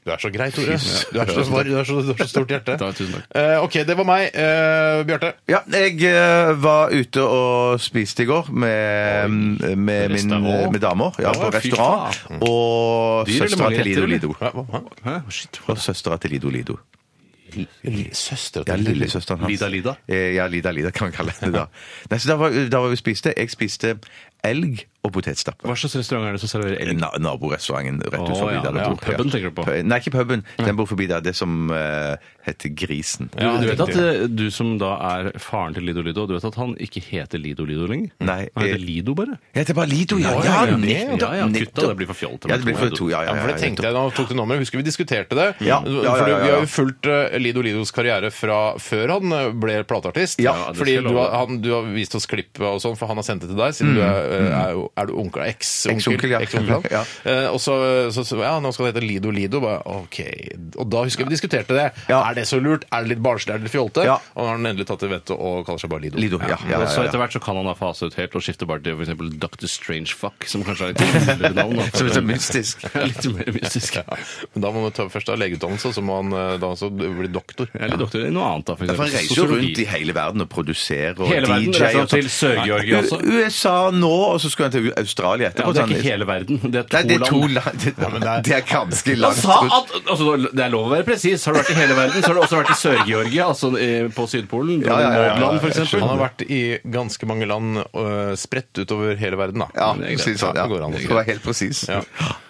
Du er så grei, Tore. Du er så, du er så, du har så stort hjerte.
Da, tusen takk.
Eh, ok, det var meg. Eh, Bjarte.
Ja, jeg eh, var ute og spiste i går med, mm, med, min,
restaurant?
med damer. Ja,
Å,
på
fy
restaurant. Og
Dyr eller
søstera
mange
til
retter,
Lido Lido.
Hæ, hva- hva?
Hæ? Shit.
Og søstera til Lido Lido.
Søster
Ja,
til
lillesøsteren hans.
Lida Lida?
Eh, Ja, Lida Lida kan vi kalle henne da. Nei, så da var, da var vi spiste. Jeg spiste elg og potetstappe.
Hva slags restaurant er det som serverer elg?
Na naborestauranten rett ut
Å,
forbi
ja,
der. det
ja.
bor,
Puben tenker du på?
Pu- Nei, ikke puben. Den bor forbi der. Det som eh, heter Grisen.
Du, du vet at eh, du som da er faren til Lido Lido, du vet at han ikke heter Lido Lido lenger?
Nei,
Han heter
eh,
Lido bare?
Ja, det er bare Lido, ja!
Ja,
Ja,
ja, ja.
nettopp,
Ja, ja, kutta,
nettopp.
det blir for fjollete.
Ja, det blir for to, ja, ja,
Ja,
ja,
for det
ja,
tenkte jeg da han tok det nummeret. Husker vi diskuterte det?
Ja, ja, ja,
Fordi
ja, ja.
Vi har jo fulgt eh, Lido Lidos karriere fra før han eh, ble plateartist.
Ja,
det skal
fordi
jeg
du
love
har, han, du har vist oss klipp og sånn, for han har sendt det til deg, siden du er, eh, er, jo- er du onkel, eks-onkel.
Mm. Eks-onkel, ja.
eks-onkel,
Ja.
Eh, og så, så, så ja, nå skal det hete Lido Lido. Bare, ok. Og da husker jeg vi diskuterte det.
Ja.
Er det så lurt? Er det litt barnslig? Er det litt fjolte?
Ja.
Og nå har han endelig tatt til vettet og kaller seg bare Lido.
Lido, ja. ja, ja,
Og så
ja, ja.
etter hvert så kan han da fase ut helt og skifte bare til f.eks. Dr. Strange Fuck, som kanskje er et kulere navn. da.
Som er så mystisk.
Ja, Litt mer mystisk.
Ja. Men da må man ta først av legeutdannelse, og så må han eh, da også bli doktor.
Eller doktor i noe annet, da. For
Ja, for han
eksempel
reiser jo rundt i
sosiologi.
hele verden og produserer og
Hele verden,
DJ
reiser
og sånn.
han til Sør-Georgia også?
U- USA nå, og så skulle han til Australia
Ja,
etterpå.
det er
så
ikke
han-
hele verden. Det er to,
Nei, det er to
land.
land. Det, det er ganske
Han
langt.
sa at altså, Det er lov å være presis. Har du vært i hele verden, så har du også vært i Sør-Georgia, altså eh, på Sydpolen.
Ja, ja, ja, ja, ja,
Nordland, for
jeg
eksempel.
Han har vært i ganske mange land øh, spredt utover hele verden, da.
Ja,
det er greit.
si det sånn, ja.
Det går an å si.
For å være helt presis.
Ja.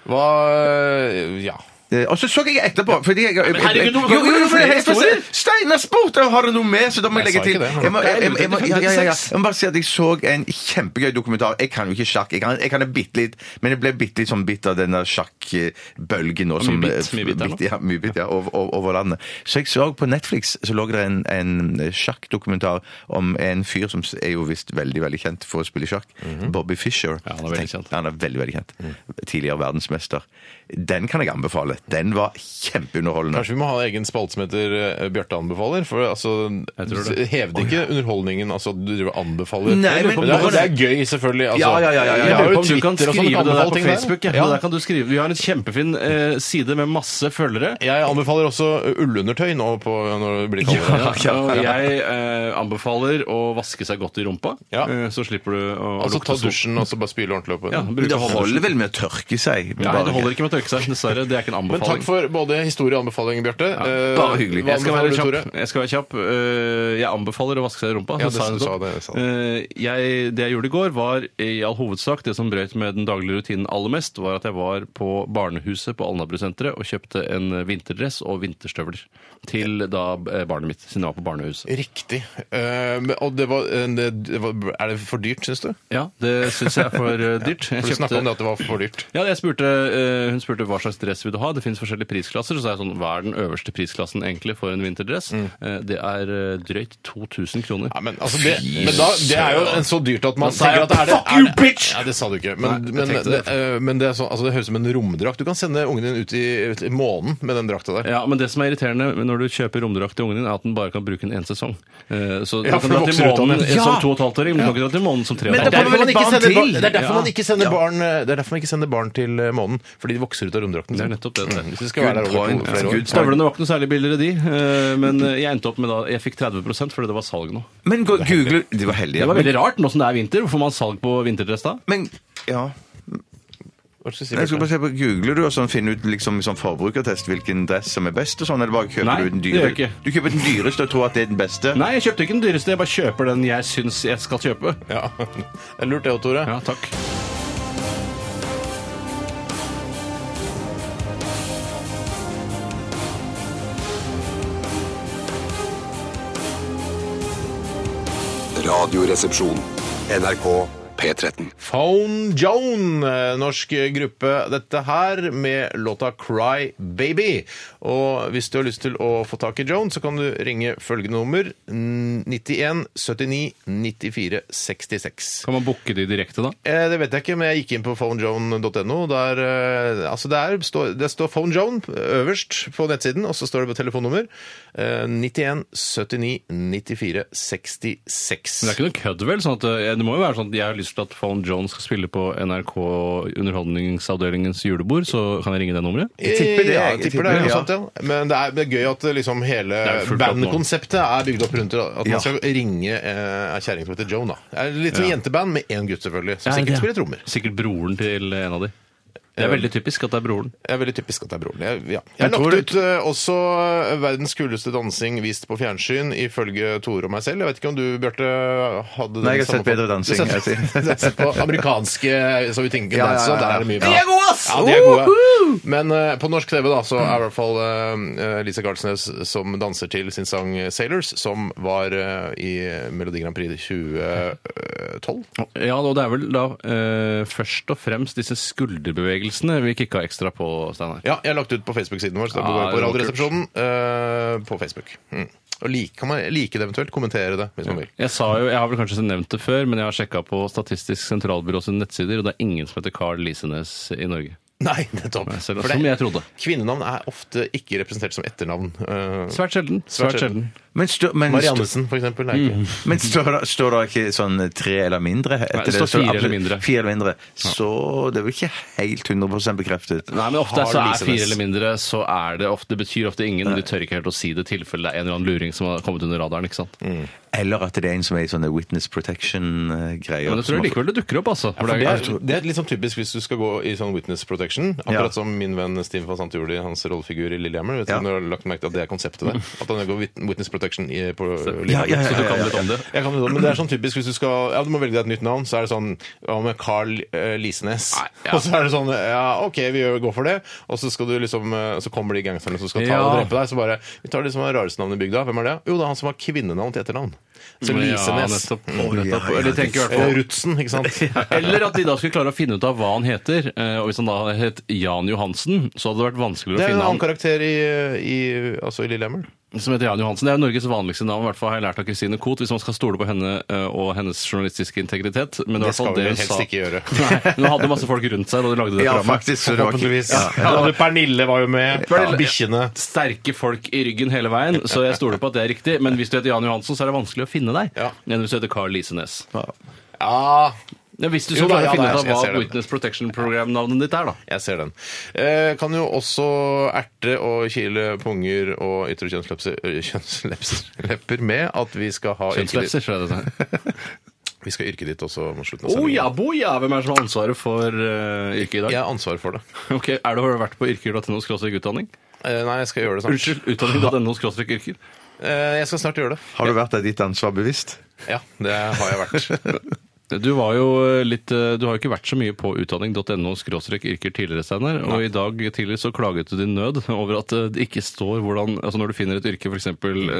Hva øh, Ja.
Eh, Og så så jeg etterpå fordi jeg,
men herregud,
Jo,
hvorfor
jo, jo, for det er helt
flere
presis! Steinar spurte om har du noe med, så da må jeg
Jeg
legge
sa
til.
ikke det.
Jeg må, jeg, jeg, jeg, må- ja, ja, ja, ja.
56.
jeg må bare si at jeg så en kjempegøy dokumentar. Jeg kan jo ikke sjakk. Jeg kan, jeg kan det bitte litt, men jeg ble bitte litt sånn bitt av denne sjakkbølgen nå.
mye
som,
bitt,
eh,
mye bitt her nå.
ja, mye bitt, ja, over, over, over landet. Så jeg så på Netflix så lå det en, en eh, sjakkdokumentar om en fyr som er jo visst veldig veldig kjent for å spille sjakk. Bobby Fischer.
Mhm. Ja, han er veldig kjent.
Han er veldig, veldig kjent. Tidligere verdensmester. Den kan jeg anbefale. Den var kjempeunderholdende.
Kanskje vi må ha en egen spalte som heter øh, Bjarte anbefaler? For altså,
Jeg tror det.
hevde ikke underholdningen altså at du driver og anbefaler.
Nei, men-
det, er, det er gøy, selvfølgelig. Altså.
Ja, ja, ja, ja, ja.
Jeg
Jeg
har
lurer på om du
jo Twitter
kan
og sånn,
skrive det
kan
der
anbefale
på
ting der.
Facebook. Ja. Der kan du skrive. Vi har en kjempefin eh, side med masse følgere.
Jeg anbefaler også ullundertøy nå på, når det blir kaldere.
Og jeg eh, anbefaler å vaske seg godt i rumpa,
Ja.
eh, så slipper du å å
Altså ta
lukte sånn.
dusjen og så bare spyle ordentlig opp.
Ja,
Ja.
bruke
Det
hånddusjen.
holder vel med å tørke seg?
Nei, det holder ikke med å tørke seg, dessverre. Det er ikke en
Men takk
anbefaling.
for både historie og anbefaling, Bjarte. Eh,
Ja, bare hyggelig. Jeg skal være
Tore?
kjapp. Jeg, skal være kjapp. Eh, jeg anbefaler å vaske seg i rumpa.
Ja,
så
det
jeg
sa-
nettopp.
sa det, jeg sa
Eh, jeg, det jeg gjorde i går, var i all hovedsak det som brøyt med den daglige rutinen aller mest, var at jeg var på barnehuset på Alnabru-senteret og kjøpte en vinterdress og vinterstøvler til da eh, barnet mitt, siden jeg var på barnehuset.
Riktig. Eh, men- og det var, en- det var Er det for dyrt, syns du?
Ja, det syns jeg er for eh, dyrt. Jeg
For du snakka
kjøpte-
om det at det var for dyrt.
Ja, jeg spurte, eh, Hun spurte hva slags dress vil du ha. Det finnes forskjellige prisklasser. Så sa jeg sånn, Hva er den øverste prisklassen egentlig for en vinterdress? Eh, Det er eh, drøyt 2000 kroner.
Ja, men altså det, men da, det er jo en så dyrt at man
Da sa
tenker
jeg,
at det er det.
"Fuck you,
er det-
bitch!"
Ja, det sa du ikke. Men,
Nei, jeg
men,
tenkte det.
det, eh, men det, er sånn, altså det høres ut som en romdrakt. Du kan sende ungen din ut i, ut i månen med den drakta der.
Ja, men Det som er irriterende når du kjøper romdrakt til ungen din, er at den bare kan bruke den én sesong. Eh, Så
Ja,
du kan
for
dra
det
til
vokser ut av
månen
den. Ja!
som to og et halvt åring, men du kan ikke dra til månen som tre og
Men
et
det er
halvt
derfor man
åring.
ikke sender barn,
til.
det er derfor
Ja.
man ikke sender barn eh, Det er derfor man ikke sender barn til eh, månen. Fordi de vokser ut av romdrakten.
Det er nettopp det. det.
Hvis det skal være der over to, flere år.
Støvlene var ikke noe særlig billigere, de. eh, Men jeg endte opp med da Jeg fikk 30 fordi det var salg nå.
Men gå- google De var heldige.
Det var veldig rart nå som det er vinter. Hvorfor man salg på vinterdress da?
Men ja.
Hva skal jeg si,
Jeg
Bjarte?
skal bare se på, Googler du og sånn, finner ut liksom, i sånn forbrukertest hvilken dress som er best? og sånn, Eller bare kjøper
Nei,
du den
det gjør
dyre?
jeg ikke.
Du kjøper den dyreste og tror at det er den beste?
Nei, jeg kjøpte ikke den dyreste. Jeg bare kjøper den jeg syns jeg skal kjøpe.
Ja. Det er lurt det òg, Tore.
Ja, takk.
Radioresepsjon. NRK P13.
Phone Joan, eh, norsk gruppe, dette her, med låta Cry Baby. Og hvis du har lyst til å få tak i Joan, så kan du ringe følgende nummer mm, 91 79 94 66.
Kan man booke de direkte, da?
Eh, Det vet jeg ikke, men jeg gikk inn på phonejoan.no. Der, eh, altså det, er, står- det står phonejoan øverst på nettsiden, og så står det på telefonnummer eh, 91 79 94 66.
Men det er ikke noe kødd, vel? Sånn at, eh, det må jo være sånn at jeg har lyst til at Fallon Jones skal spille på NRK Underholdningsavdelingens julebord, så kan jeg ringe det nummeret?
Jeg
tipper det,
Ja,
jeg
jeg tipper
tipper
det, er
det,
noe sånt, ja. Men det er, det er gøy at liksom hele
Det er jo fullt opp nå.
bandkonseptet er bygd opp rundt at man
Ja.
skal ringe eh, ei kjerring som heter Joan. da. Det er Litt som jenteband med én gutt, selvfølgelig, som sikkert spiller trommer.
Sikkert broren til en av de. Det er veldig typisk at det er broren.
Det er veldig typisk at det er broren. Jeg, ja. jeg har
Men tror
lagt
du-
ut eh, også verdens kuleste dansing vist på fjernsyn, ifølge Tore og meg selv. Jeg vet ikke om du, Bjarte, hadde
Nei,
den
jeg har sett
samme-
bedre dansing,
Du har
jeg
sett- sett på amerikanske eh, så vi tenker
Ja, ja,
danser,
ja, ja.
der er det mye bra. De er gode, ass! Ja, de er gode. Men eh, på norsk TV da, så er i hvert fall eh, Lisa Gardsnes som danser til sin sang 'Sailors', som var eh, i eh, Melodi Grand Prix 2012.
Ja, og det er vel da eh, først og fremst disse skulderbevegelsene vi kicka ekstra på, Steinar.
Ja, jeg har lagt ut på Facebook-siden vår, så da
Ja, Ah,
går det på
det var
Radioresepsjonen eh, på Facebook. Mm. Og like, kan man like det eventuelt, kommentere det hvis man vil.
Jeg, sa jo, jeg har vel kanskje nevnt det før, men jeg har sjekka på Statistisk sentralbyrå sine nettsider, og det er ingen som heter Carl Lisenes i Norge.
Nei, nettopp.
Selv,
For
som
det,
jeg trodde.
kvinnenavn er ofte ikke representert som etternavn. Eh,
Svært sjelden. Svært sjelden.
Men, stå, men, stå,
Mariannesen, for eksempel. Er
Mm.
ikke.
men står, det, står det ikke sånn tre eller mindre? etter
Nei, det står fire
absolutt-
eller mindre.
Fire eller mindre. Så det er vel ikke helt 100 bekreftet.
Nei, men ofte så er
Lisenes.
fire eller mindre, så er det ofte, det betyr ofte ingen. De tør ikke helt å si det i tilfelle det er en eller annen luring som har kommet under radaren. ikke sant?
Mm.
Eller at det er en som er i sånne witness protection-greier.
Men jeg tror likevel det dukker opp, altså.
For
For det
det,
er,
er, det er litt sånn typisk hvis du skal gå i sånn witness protection. Akkurat
Ja.
som min venn Steve van Sant gjorde i hans rollefigur i Lillehammer. Vet du,
Ja. Mm.
når du har lagt merke til at det er konseptet der. At han går wit- witness protection i, på Lillehammer.
Ja, ja, ja,
så du
ja,
kan
ja,
litt om det.
Jeg kan, jo- men det er sånn typisk hvis du skal Ja, du må velge deg et nytt navn, så er det sånn Hva med Carl eh, Lisenes?
Nei, ja.
Og så er det sånn Ja, OK, vi gjør- går for det. Og så skal du liksom eh, Så kommer de gangsterne som skal ta
Ja.
og drepe deg. Så bare Vi tar de som har rareste navn i bygda. Hvem er det? Jo, det er han som har kvinnenavn til etternavn. Så
Ja,
Lisenes.
nettopp.
ja,
nettopp.
ja,
Eller tenker i hvert
Eh,
fall
Rutsen, ikke sant?
Eller at de da skulle klare å finne ut av hva han heter. eh, Og hvis han da het Jan Johansen, så hadde det vært vanskeligere
Det
å
er en
finne han
annen karakter i, i, altså i Lillehammer.
som heter Jan Johansen. Det er Norges vanligste navn, i hvert fall har jeg lært av Christine Koht, hvis man skal stole på henne eh, og hennes journalistiske integritet. Men det, var i hvert fall
skal vi
det hun
vel helst
sa.
ikke gjøre.
Nei, men hun hadde masse folk rundt seg da de lagde det
Ja,
programmet.
faktisk. Så det var ikke...
Ja. Ja, Pernille var jo med.
Pernille-
Bikkjene.
Sterke folk i ryggen hele veien, så jeg stoler på at det er riktig. Men hvis du heter Jan Johansen, så er det vanskelig å finne deg.
Ja.
Enn hvis du heter Carl Lisenes.
Ja,
Ja, hvis du
Jo
skal
da,
klare
ja,
å finne ut
da, jeg-
av
jeg
hva
ser det.
Witness Protection Program-navnet ditt er, da.
jeg ser den. Eh, kan jo også erte og kile punger og ytre kjønnslepser, kjønnslepser lepper med at vi skal ha
Kjønnslepser, tror jeg det er.
Vi skal yrket ditt også mot slutten av
Oh
sendingen.
ja, boja! Hvem er det som har ansvaret for eh, yrket i dag?
Jeg har ansvar for det.
Ok, er det, Har du vært på yrker.no skråstrek utdanning?
Eh, Nei, jeg skal gjøre det snart.
Unnskyld, utdanning.no skråstrek yrker.
Eh, Jeg skal snart gjøre det.
Har du vært deg ditt ansvar bevisst?
Ja, det har jeg vært.
Du var jo litt eh, Du har jo ikke vært så mye på utdanning.no skråstrek yrker tidligere, Steinar. Og i dag tidlig så klaget du din nød over at eh, det ikke står hvordan Altså når du finner et yrke, f.eks.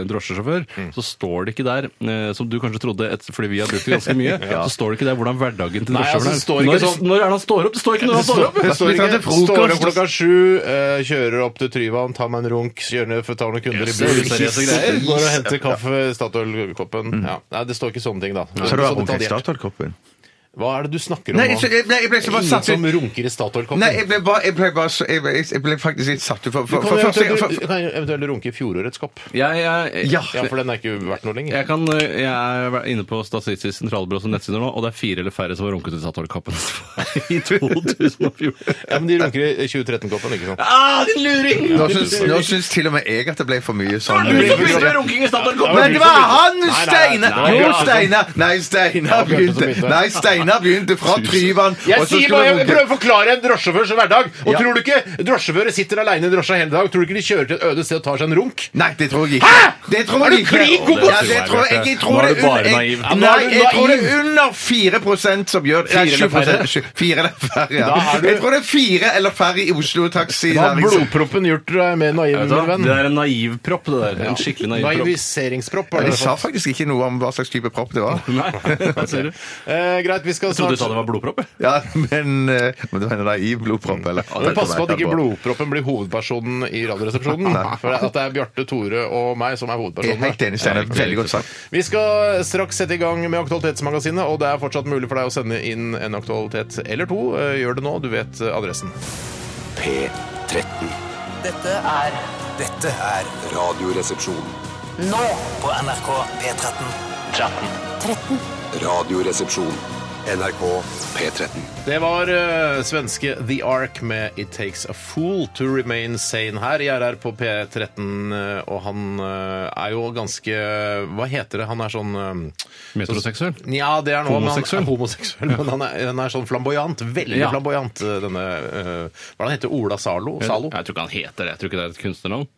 drosjesjåfør,
Mm.
så står det ikke der, eh, som du kanskje trodde et, fordi vi har brukt det ganske mye, så står det ikke der hvordan hverdagen til
Nei, altså,
drosjesjåføren
det står ikke
Når,
sånn-
når er det han står opp? Det står ikke når han står opp!
Det står,
Vi
ikke,
tar til frokost.
står opp klokka sju, eh, kjører opp til Tryvann, tar meg en runk, kjører ned, tar noen kunder
Jøss,
i bil,
useriøse greier.
går og henter kaffe, Statoil-koppen. Ja. Nei, det står ikke sånne ting, da.
Mm. Så har du
Så
vært omkring
detaljert.
Statoil-koppen?
Hva er det du snakker om
Nei,
nå?
jeg, jeg, nei, jeg ble så bare
Ingen
satt
som
ut.
runker i Statoil-koppen.
Nei, jeg ble, bare, jeg ble, bare, så- jeg ble, jeg ble faktisk litt satt ut. For,
Du
for,
kan
for,
jo
første gang-
eventuelt,
for,
du kan jo eventuelt runke i fjorårets kopp.
Jeg, jeg,
Ja.
Ja, for den er ikke verdt noe lenger.
Jeg, kan, eh, jeg er inne på Statistisk sentralbyrå som nettsider nå, og det er fire eller færre som har runket i Statoil-kappen i 2014.
Ja, men de runker i 2013-koppen, ikke sant?
Ah, din luring!
nå, syns, nå syns til og med jeg at det ble for mye sånn.
Du som begynte med runking i Statoil-koppen!
Men det var han,
nei,
Steinar!
nei, nei,
Jo,
nei.
Steinar! Nei, Steinar
Bjarte som
begynte,
begynte.
nei, Steinar begynte fra Tryvann.
Jeg
og så
sier
skulle
bare,
han
jeg
runke.
prøver å forklare en drosjesjåførs hverdag. Og
Ja.
tror du ikke drosjesjåfører sitter alene i drosja hele dag? Tror du ikke de kjører til et øde sted og tar seg en runk?
Nei, det tror jeg ikke. Hæ?! Det tror
Er du
jeg ikke.
klin god på-
ja, det tror jeg, jeg tror
Nå er
det
du bare
un-
naiv.
Jeg,
Ja,
nei,
nå er du
jeg tror det
naiv.
er under 4 som gjør nei,
Fire eller
7%,
færre.
sju- Fire eller færre, ja.
Da er du-
Jeg tror det er fire eller færre i Oslo Taxi.
Hva har
Næring-
blodproppen gjort deg mer naiv,
Vet du
min
hva? Det
venn?
er en naiv propp, det der. En skikkelig naiv propp.
Naiviseringspropp.
Ja,
har
De
dere
sa
fått.
faktisk ikke noe om hva slags type propp det var.
Nei, hva sier du?
Eh, greit, vi skal
Jeg trodde du
snart
sa det var blodpropp. jeg.
Ja, Men eh, men det var en naiv blodpropp, eller?
Men pass på at ikke blodproppen blir hovedpersonen i Radioresepsjonen. For at det er Bjarte, Tore og meg som er
Jeg er
hovedpersonene.
helt enig, Steinar. Veldig godt sagt.
Vi skal straks sette i gang med Aktualitetsmagasinet, og det er fortsatt mulig for deg å sende inn en aktualitet eller to. Eh, Gjør det nå, du vet eh, adressen.
P13.
Dette er
Dette er Radioresepsjon.
nå på NRK P13.
Radioresepsjon.
NRK P13.
Det var eh, svenske The Ark med It Takes a Fool to Remain Sane her i RR på P13. eh, Og han eh, er jo ganske Hva heter det? Han er sånn eh,
Metroseksuell?
Ja, det er noe,
Homoseksuell?
Men han, homoseksuell, men han er, han er sånn flamboyant. Veldig
Ja.
flamboyant, eh, denne eh, Hva er det han heter Ola Salo? Salo?
Jeg tror ikke han heter det. Jeg tror ikke det er et kunstnernavn.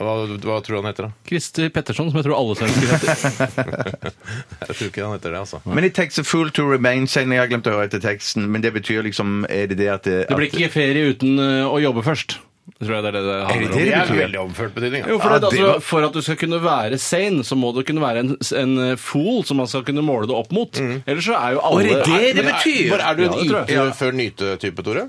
Hva, hva tror du han heter, da?
Christer Petterson, som jeg tror alle svensker heter.
Jeg tror ikke han heter det, altså.
Men it takes a fool to remain sane. Jeg har glemt å høre etter teksten, men det betyr liksom Er det det at det,
Det blir ikke ferie uten eh, å jobbe først. Tror jeg det er det det handler om.
det
Det er
betyr?
veldig overført betydning.
Jo,
Ja.
for,
Ja,
det,
det
altså,
var-
for at du skal kunne være sane, så må du kunne være en, en eh, fool som man skal kunne måle det opp mot. Ellers så Mm. er jo alle
det det det
Men
betyr?
Hvor er du
Ja,
en
det tror
yte før nyte-type, Tore?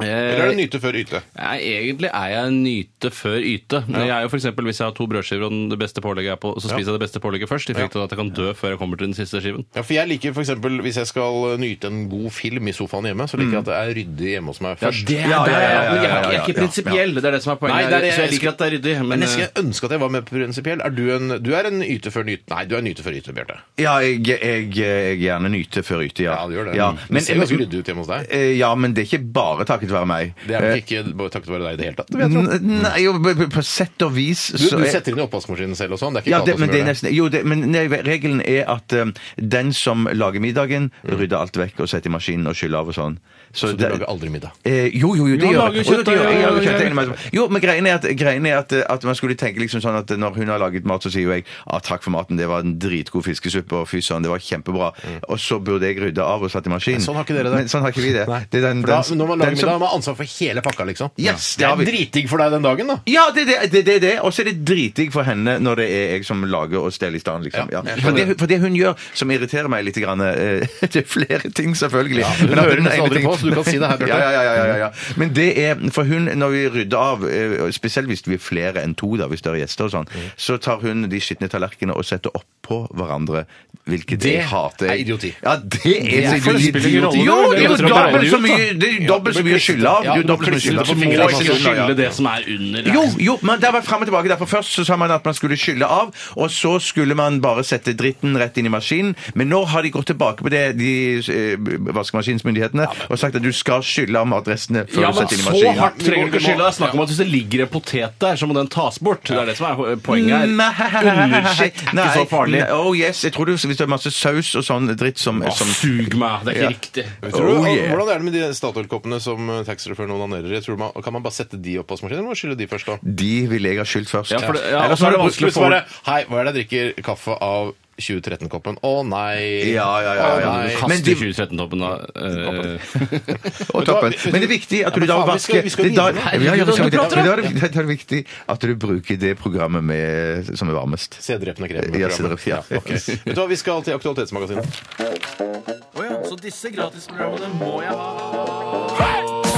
Eller er
Eh,
du nyte før yte?
Nei, egentlig er jeg en nyte før yte. Men jeg er jo for eksempel, Hvis jeg har to brødskiver og den- det beste pålegget er på, så spiser jeg det beste pålegget først. I frykt for at jeg kan dø før jeg kommer til den siste skiven.
Ja, for jeg liker for eksempel, Hvis jeg skal nyte en god film i sofaen hjemme, så liker jeg at det er ryddig hjemme hos meg først.
det er
Mm. Ja, ja,
Men
ja, ja,
jeg er ikke- jeg
ja,
er ikke
ja, ja.
prinsipiell. Det er det som er poenget.
Nei, det er det jeg-
så jeg liker at det er ryddig. Men, eh,
Men jeg
eh,
skulle ønske at jeg var mer prinsipiell. Er du en du er en yte før nyte? Nei, du er en nyte før yte, Bjarte.
Ja, jeg, jeg, jeg gjerne nyter før yter, ja.
Ja, du gjør det.
Ja, altså,
men, det ser ganske ryddig ut hjemme hos deg.
Mm. Eh, ja, men det er ikke bare takket være meg.
Det er nok ikke bare takket være deg i det hele tatt.
Eh, n- Nei, jo, b- b- på sett og vis
Du,
så
du
er-
setter inn i oppvaskmaskinen selv og sånn. Det er ikke
ja,
Kata
det, men
som
det
gjør
er
det.
nesten, jo, det, men nei, regelen er at eh, den som lager middagen, rydder alt vekk og setter i maskinen og skyller av og sånn.
Mm. Så du lager aldri middag.
Eh, jo, jo, jo, det
Jo, han lager
gjør jeg.
jo
Jo, det
kjøttdeig,
gjør jeg.
ja,
Jeg lager
ja,
kjøttdeig
ja.
innimellom. Jo, men greien er, at, greien er at, at man skulle tenke liksom sånn at når hun har laget mat, så sier jo jeg ah, 'takk for maten, det var en dritgod fiskesuppe', og 'fy søren, det var kjempebra'. Og så burde jeg rydde av og satt i maskinen.
Men Mm. sånn har ikke dere det.
Men sånn har ikke vi det.
Nei.
Det er den-
For da,
den-
når man lager
den som-
middag, har man ansvar for hele pakka, liksom.
Yes,
det
det har
er
vi.
dritdigg for deg den dagen, da.
Ja, det er det. det, det, er det. Og så er det dritdigg for henne når det er jeg som lager og steller i stand. Liksom.
Ja,
Ja.
jeg
For, det, for det hun gjør som irriterer meg litt, grann, eh, det er flere ting selvfølgelig.
Ja, hun
Men at
hører
hun
nesten
ene
aldri
ting-
på, så du kan si det her, Bjarte.
Ja, ja, ja, ja, ja, ja. Men det er, for hun, når vi rydder av, eh, spesielt hvis vi er flere enn to, da, hvis det er gjester og sånn, så tar hun de skitne tallerkenene og setter oppå hverandre, hvilket
Det
jeg hater.
er idioti.
Ja, det er,
er
så
for det spiller ingen rolle,
idioti. Jo,
det er jo
det er jo dobbelt
idiot,
så
da.
mye, det er jo dobbelt så mye skylde av.
Ja,
Du er
nå
dobbelt
plutselig
skylda.
så
Du
må
må
ikke
ikke skylde,
skylde
ja.
det som er under.
Jo, jo, men det var frem og tilbake. Derfor Først så sa man at man skulle skylle av, og så skulle man bare sette dritten rett inn i maskinen. Men nå har de gått tilbake på det, de eh, vaskemaskinsmyndighetene, og sagt at du skal skylle av matrestene før
Ja,
du
men
setter inn i
så
maskinen.
hardt trenger du ikke skylde. Det er snakk om at hvis det ligger en potet der, så må den tas bort. Det er det som er poenget her. Underskitt er ikke så farlig.
Nei, Oh yes, jeg tror det, hvis det er masse saus og sånn dritt som,
Å,
som
Sug meg! Det er ikke
Ja.
riktig.
Jeg Tror,
Oh, yeah.
Hvordan er det med de Statoil-koppene som eh, taxisjåføren onanerer i? Tror man, kan man bare sette de opp på vaskemaskinen, eller må man skylle de først, da?
De ville jeg ha skyldt først.
Ja, for det- ja,
Ellers
og så er
har
det
du
vanskelig
brukt
å få-
Bare, Hei, hva er det jeg drikker kaffe av 2013-koppen? Å nei!
Ja, ja, ja, ja.
Å, nei.
Men
Kaste
de-
2013-toppen, da. eh,
og toppen. Men det er viktig at
Ja,
du
men
da
faen, vi skal-
vasker
vi skal
det er da-
videre.
Ja, ja, vi skal
Herregud,
videre.
da
Men da er det- Det er viktig at du bruker det programmet med, som er varmest.
C-drepende krem.
Ja, C-drep, ja.
ok. Vet du hva, vi skal til Aktualitetsmagasinet.
Så disse gratisprogrammene må jeg ha.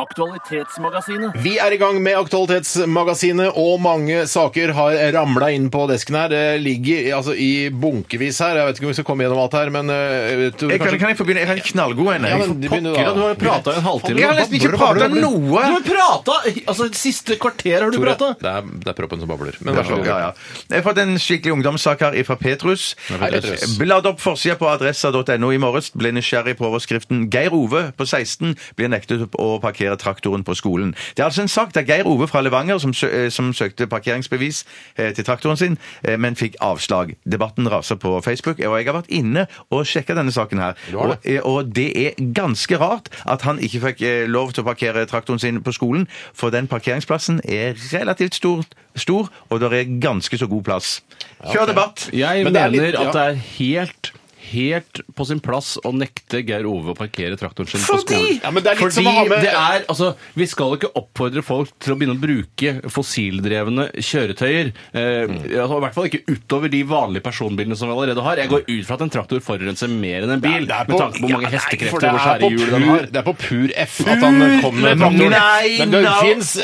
Aktualitetsmagasinet.
Vi er i gang med Aktualitetsmagasinet, og mange saker har ramla inn på desken her. Det ligger i- altså, i bunkevis her. Jeg vet ikke om vi skal komme gjennom alt her, men eh, jeg tror
Jeg kan,
kanskje-
kan jeg få begynne? Jeg har en knallgod en.
Ja,
jeg.
men de begynner
Pokker, da, du har jo prata i en halvtime.
Jeg har nesten ikke prata noe!
Du har prata! Altså, siste kvarter har du
Tore,
prata.
Det er, det er proppen som babler. Men
Ja,
vær så god.
ja, ja. Jeg har fått en skikkelig ungdomssak her fra Petrus. Eh,
Hei, Petrus.
Blad opp forsida på adressa.no i morges. Ble nysgjerrig på overskriften 'Geir Ove på 16 blir nektet å parkere traktoren på skolen'. Det er altså en sak der Geir Ove fra Levanger som, sø eh, som søkte parkeringsbevis eh, til traktoren sin, eh, men fikk avslag. Debatten raser på Facebook, og jeg har vært inne og sjekka denne saken her.
Du har det?
Og, eh, og det er ganske rart at han ikke fikk eh, lov til å parkere traktoren sin på skolen, for den parkeringsplassen er relativt stor, stor og det er ganske så god plass. Kjør debatt!
Jeg
Men det er
mener
litt- ja.
at det er helt Helt på sin plass å nekte Geir Ove å parkere traktoren sin på
Fordi-
skolen.
Ja, men det er litt
Fordi
som å ha med-
det er, altså, Vi skal ikke oppfordre folk til å begynne å bruke fossildrevne kjøretøyer. Eh,
Mm.
altså, I hvert fall ikke utover de vanlige personbilene som vi allerede har. Jeg går
Mm.
ut fra at en traktor forurenser mer enn en bil, med tanke på hvor mange
Ja, nei, for
hestekrefter
det
og
er på
skjære hjul den
pur-
har.
Det er på pur F at han kom med
F!
traktoren.
Nei,
Men det
no.
fins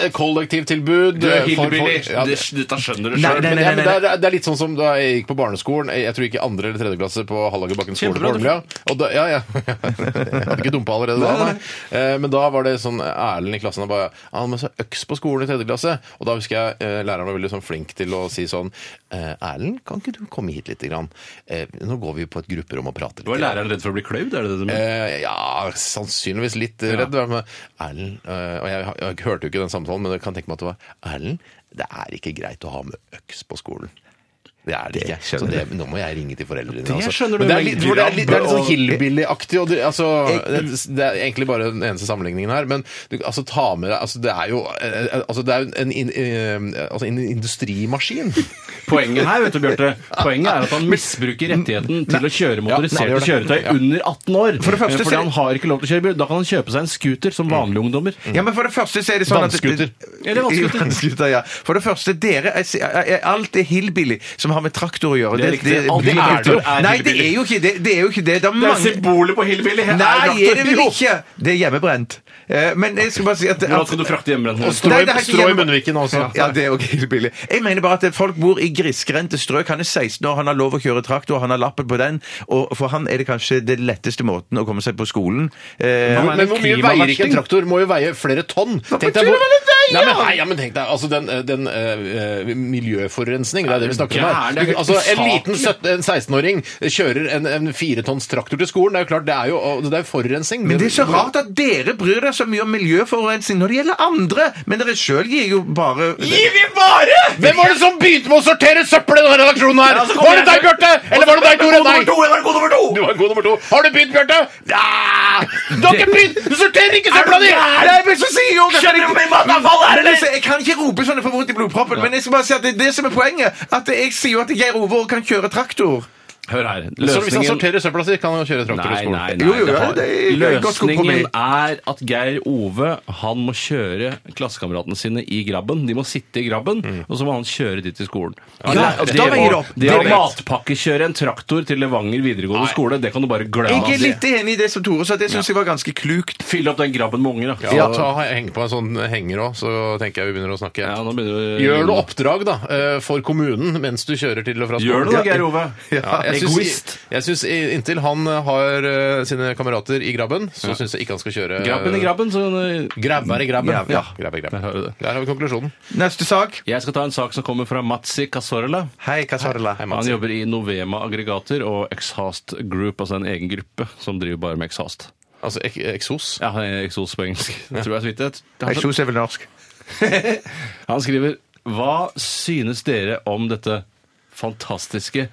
kollektivtilbud.
Du
eh,
er
for folk-
hillbilly.
Ja, det-
Det- Dette skjønner du
Nei,
sjøl.
nei,
Men, ja, men det, er, det er litt sånn som da jeg gikk på barneskolen. Jeg tror ikke andre eller tredje klasse på Hallagerbakken skole på
Kjempebra, du-
Holmlia. Og da, ja, ja. Jeg hadde ikke dumpa allerede da, nei. Eh, Men da var det sånn Erlend i klassen og bare Han med seg øks på skolen i tredje klasse. Og da husker jeg eh, læreren var veldig sånn flink til å si sånn eh, Erlend, kan ikke du komme hit lite grann? Eh, Nå går vi på et grupperom og prater litt.
Var læreren redd for å bli kløyvd? Er det det du mener?
Eh, ja, sannsynligvis litt redd. Men Erlend eh, Og jeg, jeg hørte jo ikke den samtalen, men jeg kan tenke meg at det var Erlend, det er ikke greit å ha med øks på skolen. Det er det, ikke. Så det, nå må jeg ringe til foreldrene dine. altså.
skjønner du,
Men det er
men
litt, for det er litt, det er litt sånn
og-
hillbilly-aktig. og det- Altså, det, det er egentlig bare den eneste sammenligningen her. Men du, altså, ta med deg altså, Det er jo eh, altså, det er jo en, in, eh, altså, en industrimaskin.
Poenget her vet du, Bjarte, poenget er at han misbruker rettigheten til å kjøre
nei,
motoriserte
gjør det.
kjøretøy
Ja.
under 18 år.
det første
Eh,
så-
Fordi han har ikke lov til å kjøre bil. Da kan han kjøpe seg en scooter som vanlige ungdommer.
Ja, men for det første så er det sånn at
Vannskuter.
Eller vannskuter.
Vannskuter, ja. For det første, dere er, er, Alt er hillbilly som har med traktor å gjøre.
Det er riktig. Alt
blir
er
jo-
det jo.
Nei, det er jo ikke det. Det er jo ikke det. Det er mange
symbolet på hillbilly!
Nei, er det vel ikke! Det er hjemmebrent. Eh, Men jeg skal bare si at,
Hvordan
at
skal du frakte hjemmebrent?
Og strå,
Nei,
i-
det er ikke
strå i
hjemme-
munnviken
altså.
også.
Ja, det er også helt billig. Jeg mener bare at folk bor i grisgrendte strøk. Han er 16 år, han har lov å kjøre traktor, han har lappen på den. Og for han er det kanskje det letteste måten å komme seg på skolen. Eh,
Han er
Men
en
hvor mye veier ikke en traktor? Må jo veie flere tonn. Tenk deg
betyr
hvor-
det vel en vei,
Nei, men, hei, ja, men tenk deg, altså den, eh, den eh, eh, miljøforurensning, det er det vi snakker om her.
Gæren, det er
Du,
helt
altså, en liten
usaklig.
17 en 16-åring kjører en, en firetonns traktor til skolen, det er jo klart, det er jo og det er jo forurensning.
Men det er så rart at dere bryr dere så mye om miljøforurensning når det gjelder andre, men dere sjøl gir jo bare
Gir vi bare?! Hvem var det som begynte med å sortere søppel i denne redaksjonen her? var det deg, Bjarte? Eller var det deg, Tore? Nei. Du var god nummer to. Har du begynt, Bjarte? Ja. Du har ikke begynt! Du sorterer ikke søpla di!
Nei, men så sier jo Skjønner du meg, matavfall er det Jeg kan ikke rope sånn jeg får vondt i blodproppen, men jeg skal bare si at det er det som er poenget. At jeg sier jo at Geir Ove kan kjøre traktor.
Hør her.
Så hvis han
Løsningen
sorterer søpla si, kan han kjøre traktor i
Nei,
skolen.
nei,
Jo,
nei.
jo,
det
ja,
har-
det er- det er godt
Løsningen
kompromiss.
er at Geir Ove han må kjøre klassekameratene sine i grabben. De må sitte i grabben, og så må han kjøre dit til skolen.
Mm. Ja,
Det-
da veier det opp.
Det å
Det er rett.
matpakkekjøre en traktor til Levanger videregående skole, det kan du bare glemme.
Jeg er
Det-
litt enig i det som Tore sa. Det syns jeg var ganske klukt.
Fyll opp den grabben med unger, da.
Ja, ta, heng på en sånn henger òg, så tenker jeg vi begynner å snakke.
Ja, nå begynner du
Gjør noe oppdrag da, eh, for kommunen mens du kjører til og fra skolen.
Gjør det da, Geir Ove.
Ja, jeg
Egoist.
syns, jeg syns inntil han har eh, sine kamerater i grabben, så syns jeg ikke han skal kjøre
Grabben i grabben, så
Grabber i grabben.
Grabber.
Ja, grabber i grabben.
Der har du det.
Der har vi konklusjonen.
Neste sak.
Jeg skal ta en sak som kommer fra Matsi Casorla.
Hei, Casorla.
Hei,
Han
Mats.
jobber i Novema Aggregater og Exhaust Group, altså en egen gruppe som driver bare med exhaust.
Altså ek eksos.
Ja, han er eksos på engelsk. Det tror jeg er så vidt det.
Jeg
Han,
kjos er vel norsk.
han skriver Hva synes dere om dette fantastiske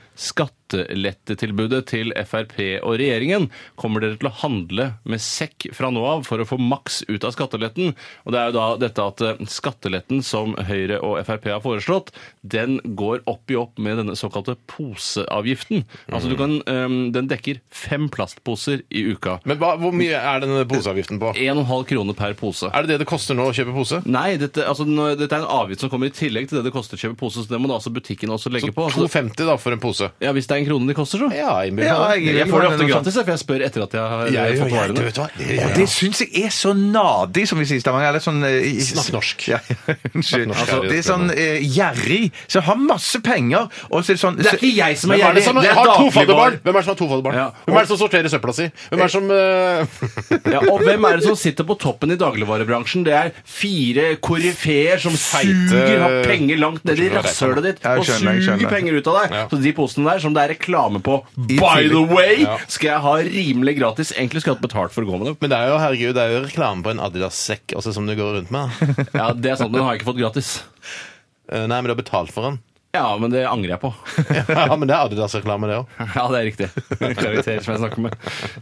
skattelettetilbudet til Frp og regjeringen? Kommer dere til å handle med sekk fra nå av for å få maks ut av skatteletten? Og det er jo da dette at eh, skatteletten som Høyre og Frp har foreslått, den går opp i opp med denne såkalte poseavgiften. Altså
Mm.
du kan, eh, den dekker fem plastposer i uka.
Men hva, hvor mye er denne poseavgiften på?
1,5 kroner per pose.
Er det det det koster nå å kjøpe pose?
Nei, dette, altså, nå- dette er en avgift som kommer i tillegg til det det koster å kjøpe pose, så det må da altså butikken også legge
Så
på. Altså,
2,50 da for en pose.
ja, Hvis det er en krone det koster, så.
Ja, innbyr
Ja,
meg det.
Jeg får det ofte
Noe sånt.
gratis, jeg, for jeg spør etter at jeg har
Jeg-
fått
jeg-
varene.
vet du hva?
Og det syns jeg er så nadig, som vi sier i Stavanger. Eller sånn, eh, i-
Snakk norsk.
Ja, unnskyld.
norsk,
Altså,
er det
det er sånn eh, gjerrig. Så har masse penger, og så er det sånn
Det er ikke jeg som er
Hvem er det
gjerrig,
som
det er
har to
dagligvarer.
fadderbarn? Hvem er det som har to fadderbarn?
Ja.
Hvem er det som sorterer søpla si? Hvem er det som eh,
Ja, og hvem er det som sitter på toppen i dagligvarebransjen? Det er fire koryfeer som suger har penger langt ned i rasshølet ditt
Ja, jeg
og
skjønner, jeg
suger
skjønner.
penger ut av deg.
Ja.
Så de posene der som det er reklame på,
I
by the
tillegg.
way,
Ja.
skal jeg ha rimelig gratis. Egentlig skulle jeg hatt betalt for å gå med dem.
Men det er jo herregud, det er jo reklame på en Adidas-sekk altså, som du går rundt med. da.
Ja, Det er sant, men den har jeg ikke fått gratis.
Eh, Nei, men du har betalt for den.
Ja, men det angrer jeg på.
Ja, men det er Adidas-reklame, det òg.
Ja, det er riktig. Klariterer som jeg snakker med.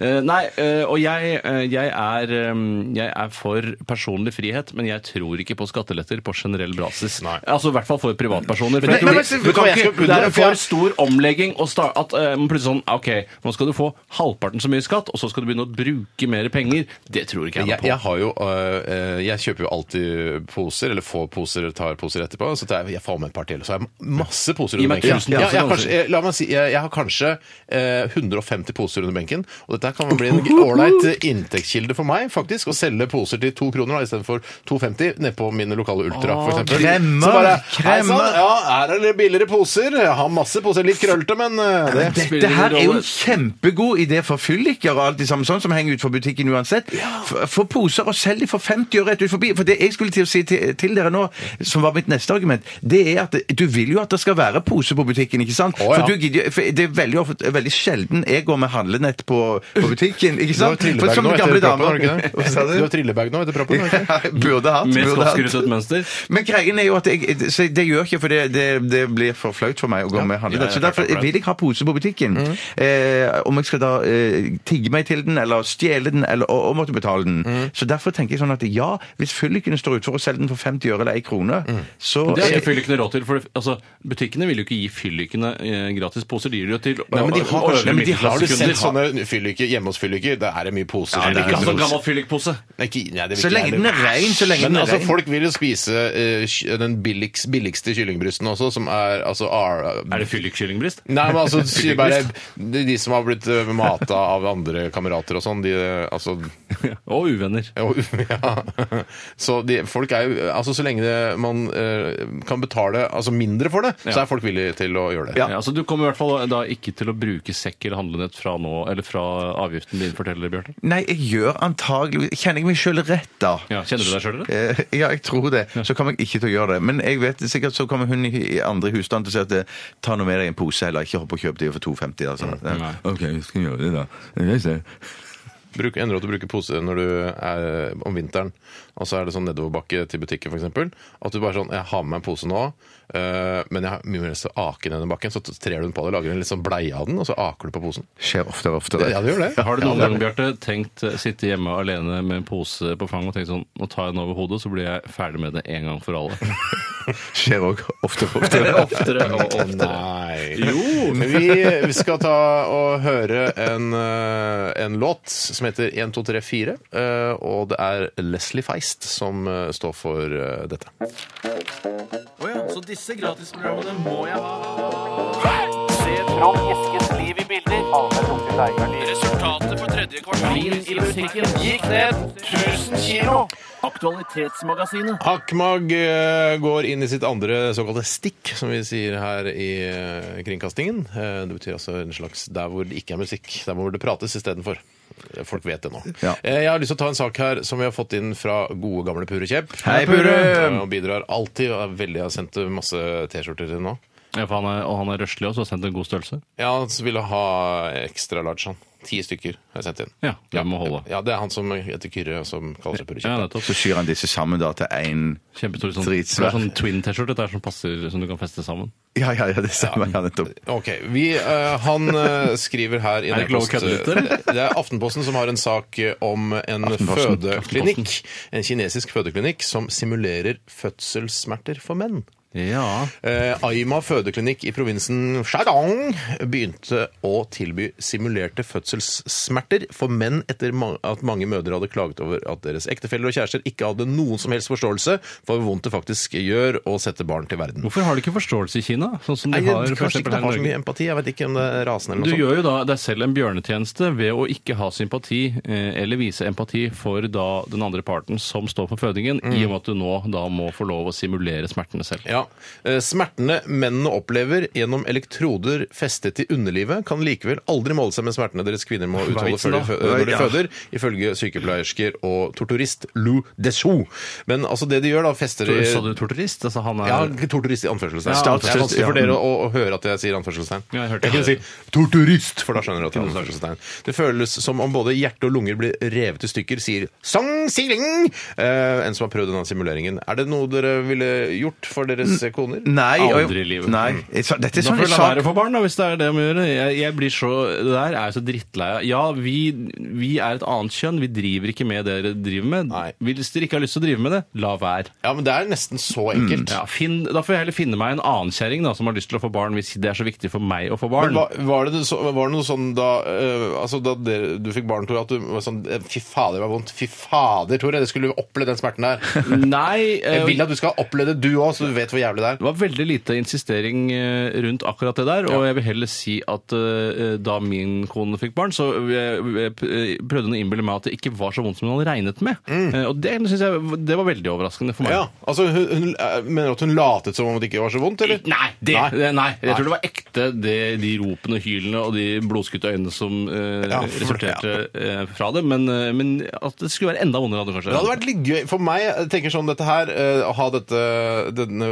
Eh, nei, eh, og jeg, eh, jeg, er, eh, jeg er for personlig frihet, men jeg tror ikke på skatteletter på generell basis.
Nei.
Altså i hvert fall for privatpersoner. For
Men-
jeg tror
men-
ikke-
men-
du kan
men- jeg
ikke-
skal-
det er en
for
for
jeg-
stor omlegging å sta- at eh, man plutselig sånn OK, nå skal du få halvparten så mye skatt, og så skal du begynne å bruke mer penger. Det tror ikke jeg noe
Jeg,
på.
jeg har jo øh, øh, Jeg kjøper jo alltid poser, eller få poser, tar poser etterpå. Så tar jeg, jeg får med et par til. Så har jeg masse poser
Gi
under
meg
benken.
1000
Ja,
poser,
jeg,
kan
har
du
kanskje,
si.
jeg, la meg si, jeg, jeg har kanskje eh, 150 poser under benken. Og dette her kan bli en ålreit inntektskilde for meg, faktisk. Å selge poser til to kroner da, istedenfor 2,50 ned på min lokale Ultra,
Ah,
for eksempel.
kremmer,
Så bare, «Hei sann,
kremmer.
Ja, her er det billigere poser. Jeg har masse poser. Litt krøllete, men eh, det
Dette her er jo en kjempegod idé for fylliker og alt det samme sånn, som henger utenfor butikken uansett. F- Få poser og selg de for 50 øre rett ut forbi. For det jeg skulle til å si til, til dere nå, som var mitt neste argument, det er at du vil jo at det skal være pose på butikken, ikke sant?
Å, ja.
For, du, gidder jo- for det er veldig, ofte, veldig sjelden jeg går med handlenett på, på butikken, ikke
Du har
sant?
trillebag nå etter proppen, har du ikke det?
Hva sa
Du har trillebag nå etter proppen, har du ikke det?
Burde hatt.
Med
burde hatt.
skapskrutet mønster.
Men greien er jo at jeg, så det gjør jeg ikke, for det, det, det blir for flaut for meg å gå med handlenett. Så derfor vil jeg ha pose på butikken. Eh, om jeg skal da eh, tigge meg til den, eller stjele den, eller og, og måtte betale den. Så derfor tenker jeg sånn at ja, hvis fyllikene står utenfor og selger den for 50 øre eller 1 krone, så
Det har
er-
ikke fyllikene råd til. For det- altså, butikkene vil jo ikke gi fyllikene eh, gratis poser. De gir det jo til
Nei, men de har
øvre
kanskje men de har du
middelklassekunder.
sett Altså, sånne fylliker, hjemme hos fylliker? Der er det mye poser.
Ja,
som
det er ikke
ligger
en sånn
rundt.
gammel fyllikpose.
Nei, ikke- nei, det vil
Så
ikke jeg
lenge den er
heller.
ren, så lenge
Men
den er
altså,
ren.
folk vil jo spise eh, ky- den billigst, billigste kyllingbrysten også, som er altså R...
Er det fyllikkyllingbrist?
Nei, men altså, sier bare,
Fyllikbryst?
de, de som har blitt eh, mata av andre kamerater og sånn, de eh, altså
Og uvenner.
jo, ja. Så de, folk er jo Altså, så lenge det, man eh, kan betale altså mindre for det, så
Ja.
er folk villige til å gjøre det.
Ja, så Du kommer i hvert fall eh, da ikke til å bruke sekk eller handlenett fra nå, eller fra avgiften din, forteller Bjarte.
Nei, jeg gjør antagelig Kjenner jeg meg sjøl rett, da?
Ja, kjenner du deg sjøl, eller?
Eh, Ja, jeg tror det. Så kommer jeg ikke til å gjøre det. Men jeg vet sikkert så kommer hun i i andre husstand til å si at eh, ta nå med deg en pose, eller ikke hopp og kjøp det for 2,50. Altså.
Nei.
OK, jeg skal gjøre det, da. Jeg ser.
Bruk, ender at du bruker pose når du er om vinteren, og så er det sånn nedoverbakke til butikken f.eks. At du bare sånn Jeg har med meg en pose nå, øh, men jeg har mye mer lyst til å ake ned den bakken. Så trer du den på deg, lager en litt sånn bleie av den, og så aker du på posen.
Skjer oftere og oftere.
Ja, det gjør det.
Har du noen gang, Bjarte, tenkt eh, sitte hjemme alene med en pose på fanget og tenkt sånn Nå tar jeg den over hodet, så blir jeg ferdig med det en gang for alle.
Skjer òg ofte og
Det er
ofte.
Oftere og oftere.
Nei.
Jo.
Vi, vi skal ta og høre en, eh, en låt som heter 1234, eh, og det er Leslie Feist som eh, står for eh, dette. Hakmag eh, går inn i sitt andre såkalte stikk, som vi sier her i eh, kringkastingen. Eh, Det betyr altså en slags der hvor det ikke er musikk, der hvor det prates istedenfor. Folk vet det nå.
Ja.
Eh, Jeg har lyst til å ta en sak her som vi har fått inn fra gode, gamle Pure Kjepp.
Hei, Pure!
Eh, Og bidrar alltid. Og er veldig, jeg har sendt masse T-skjorter til nå.
Ja, for han er, og han er røslig også, og har sendt en god størrelse.
Ja, så ville jeg ha ekstra large sånn. Ti stykker har jeg sendt inn.
Ja, det må holde.
Ja, det er han som heter Kyrre, som kaller seg Pure
Ja,
Kjepp.
nettopp.
Så syr han disse sammen da til én
Kjempestor sånn, det
Dritsvær.
er sånn twin-T-skjorte der som passer, som du kan feste sammen.
Ja, ja, ja, det stemmer. Ja, nettopp.
Ok, vi, eh, Han eh, skriver her i en
Er det ikke lov å
e-post-
kødde litt, eller?
Det er Aftenposten som har en sak eh, om en
Aftenposten.
fødeklinikk. En kinesisk fødeklinikk som simulerer fødselssmerter for menn.
Ja.
Eh, Aima fødeklinikk i provinsen Shandong begynte å tilby simulerte fødselssmerter for menn etter ma- at mange mødre hadde klaget over at deres ektefeller og kjærester ikke hadde noen som helst forståelse for hvor vondt det faktisk gjør å sette barn til verden.
Hvorfor har de ikke forståelse i Kina? Sånn som de
Nei,
har for eksempel
kanskje
her
ikke de
i
har så
Norge?
mye empati. Jeg vet ikke om det er rasen eller
Du
noe sånt.
gjør jo da deg selv en bjørnetjeneste ved å ikke ha sympati eh, eller vise empati for da den andre parten som står for fødingen, i og med at du nå da må få lov å simulere smertene selv.
Mm. Ja. Eh, Smertene mennene opplever gjennom elektroder festet i underlivet, kan likevel aldri måle seg med smertene deres kvinner må utholde
vitsen
før
da?
de, fø- når de
Ja.
føder, ifølge sykepleiersker og torturist Lou Dessou. Men altså, det de gjør, da, fester de
Sa du torturist? Altså han er
ja, torturist i anførselstegn.
Ja,
det er vanskelig for
ja.
dere å, å høre at jeg sier anførselstegn.
Ja, jeg hørte
kunne si
det.
torturist, for da skjønner du at det er anførselstegn. Det føles som om både hjerte og lunger blir revet i stykker, sier Sang Siling, eh, en som har prøvd denne simuleringen. Er det noe dere ville gjort for deres koner?
Nei, og-
Aldri i livet.
Nei. Så, dette er
Da
sånn
får
en
du la
sak
være for barn, da, hvis det er det må gjøre. Jeg, jeg blir så, det der er jeg så drittlei av. Ja, vi, vi er et annet kjønn. Vi driver ikke med det dere driver med.
Nei.
Hvis dere ikke har lyst til å drive med det, la være.
Ja, men det er nesten så enkelt.
Mm, Ja, finn, da får jeg heller finne meg en annen kjerring da, som har lyst til å få barn, hvis det er så viktig for meg å få barn.
Men var, var, det så, var det noe sånn da eh, Altså da dere, du fikk barn, Tore, at du var sånn eh, Fy fader, det var vondt. Fy fader, Tore, det skulle du oppleve den smerten der.
Nei,
Jeg
eh,
vil at du skal oppleve det du òg, så du vet hvor jævlig det er.
Det var veldig lite insistering eh, rundt akkurat det der, og jeg vil heller si at eh, da min kone fikk barn, så eh, eh, prøvde hun å innbille meg at det ikke var så vondt som hun hadde regnet med. Eh, Og det synes jeg det var veldig overraskende for meg.
Mm. Ja, altså hun, hun eh, Mener du at hun latet som om det ikke var så vondt, eller?
Nei, det,
Nei.
det- nei, jeg
Nei.
tror det var ekte det, de ropene, hylene og de blodskutte øynene som eh,
Ja, for-
resulterte eh, fra det, men, eh, men at det skulle være enda vondere hadde kanskje
Det hadde vært litt gøy for meg. Jeg tenker sånn dette her, eh, Å ha dette, denne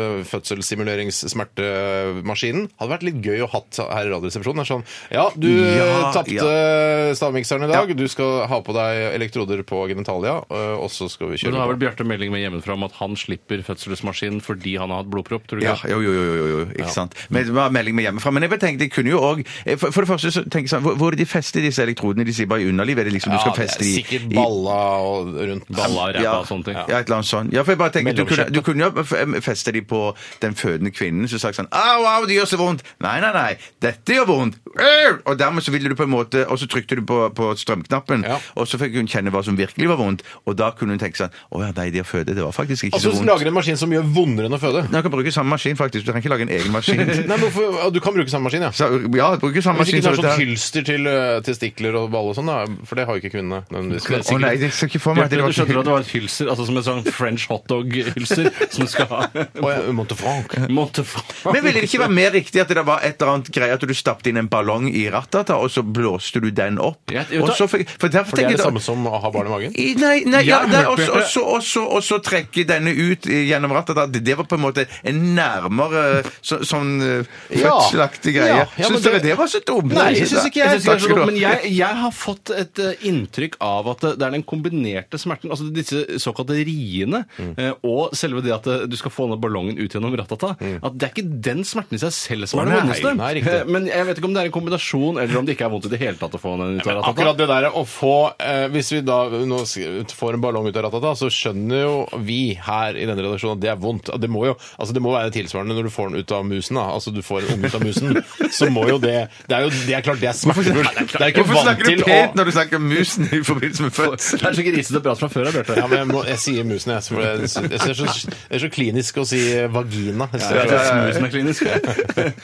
fødselsstimuleringssmertemaskinen hadde vært litt gøy å hatt her i Radioresepsjonen. Det er Sånn, ja, du
Ja,
tapte stavmikseren i dag. Du skal ha på deg elektroder på genitalia, eh, og så skal vi
Men
kjøre
det har vel
på.
Bjarte melding med hjemmefra om at han slipper fødselsmaskinen fordi han har hatt blodpropp, tror du
Ja,
ikke?
jo, jo, jo, jo, jo ikke sant. Men det var melding med hjemmefra. Men jeg bare tenkte, jeg kunne jo òg for, for det første så tenker jeg sånn, hvor- hvor er de fester disse elektrodene? De sier bare i underlivet? Er det liksom du skal
det
feste
er
de
sikkert
i-
balla og rundt.
Balla og ræva
Ja.
og sånne ting.
Ja, et eller annet sånt. Ja, for jeg bare tenker, du kunne,
Mellomskjøttet.
du kunne jo f- feste de på den fødende kvinnen, så sagt sånn Au, au, det gjør så vondt! Nei, nei, nei, dette gjør vondt! Øh! Og dermed så ville du på en måte Og så trykte du på, på strømknappen,
Ja.
og så fikk hun kjenne hva som virkelig var vondt, og da kunne hun tenke sånn Å ja, nei, de har føde, det var faktisk ikke
Og så
så vondt.
Altså, lager en maskin som gjør vondere enn å føde.
Nei, Du kan bruke samme maskin, faktisk. Du trenger ikke lage en egen maskin.
Nei, men hvorfor, ja, du kan bruke samme maskin, ja.
Så, ja, bruke samme
Hvis
maskin
ikke det
som
er sånn
dette.
hylster til eh, testikler og balle og sånn, da. For det har jo ikke kvinnene. nødvendigvis.
Å nei, jeg ser ikke for meg at
Bjarte, du
det
skjønner at
var
det var et hylser, altså som en sånn French hotdog-hylser som du skal ha.
Å, ja, Montefranc.
Montefort.
men ville det ikke være mer riktig at det var et eller annet greie at du stappet inn en ballong i rattata, og så blåste du den opp?
Ja, vet du
Og
hva?
så fikk, for derfor
For det er
tenker
det
jeg da-
samme som å ha barn i magen?
I- Nei, nei, ja,
Ja,
det er
Bjarte.
også, også, også, også trekke denne ut i- gjennom rattata. Det det var på en måte en nærmere så, sånn eh,
Ja.
fødselaktig
Ja,
greie.
ja, men
Syns dere
det-
det var så dumt?
Nei, jeg synes ikke
Jeg
Takk
synes ikke det er så
skal du ha.
dumt, men jeg, jeg har fått et eh, inntrykk av at det det er den
Mm.
kombinerte smerten, altså disse såkalte riene, eh, og selve det at eh, du skal få ned ballongen ut gjennom ratata. At det er ikke den smerten i seg selv som er det
Mm. Nei,
vondeste.
nei, riktig.
Eh, Men jeg vet ikke om det er en kombinasjon, eller om det ikke er vondt i det hele tatt å få den ut av ratata.
Akkurat det der å få eh, Hvis vi da nå s- får en ballong ut av ratata, så skjønner jo vi her i denne redaksjonen at det er vondt. Det må jo altså det må være tilsvarende når du får den ut av musen. da Altså du får en unge ut av musen, så må jo det Det er jo det er klart det er smertefullt. Det er ikke
Hvorfor
vant
snakker du
til å
pent når du snakker om musen i forbindelse med
Det
fødsel?
er så grisete prat fra før av, Bjarte.
ja, men jeg, må, jeg sier musen, jeg. For jeg, sy- jeg, synes det er så, det er så klinisk å si vagina. Jeg synes det er-
Musen er klinisk.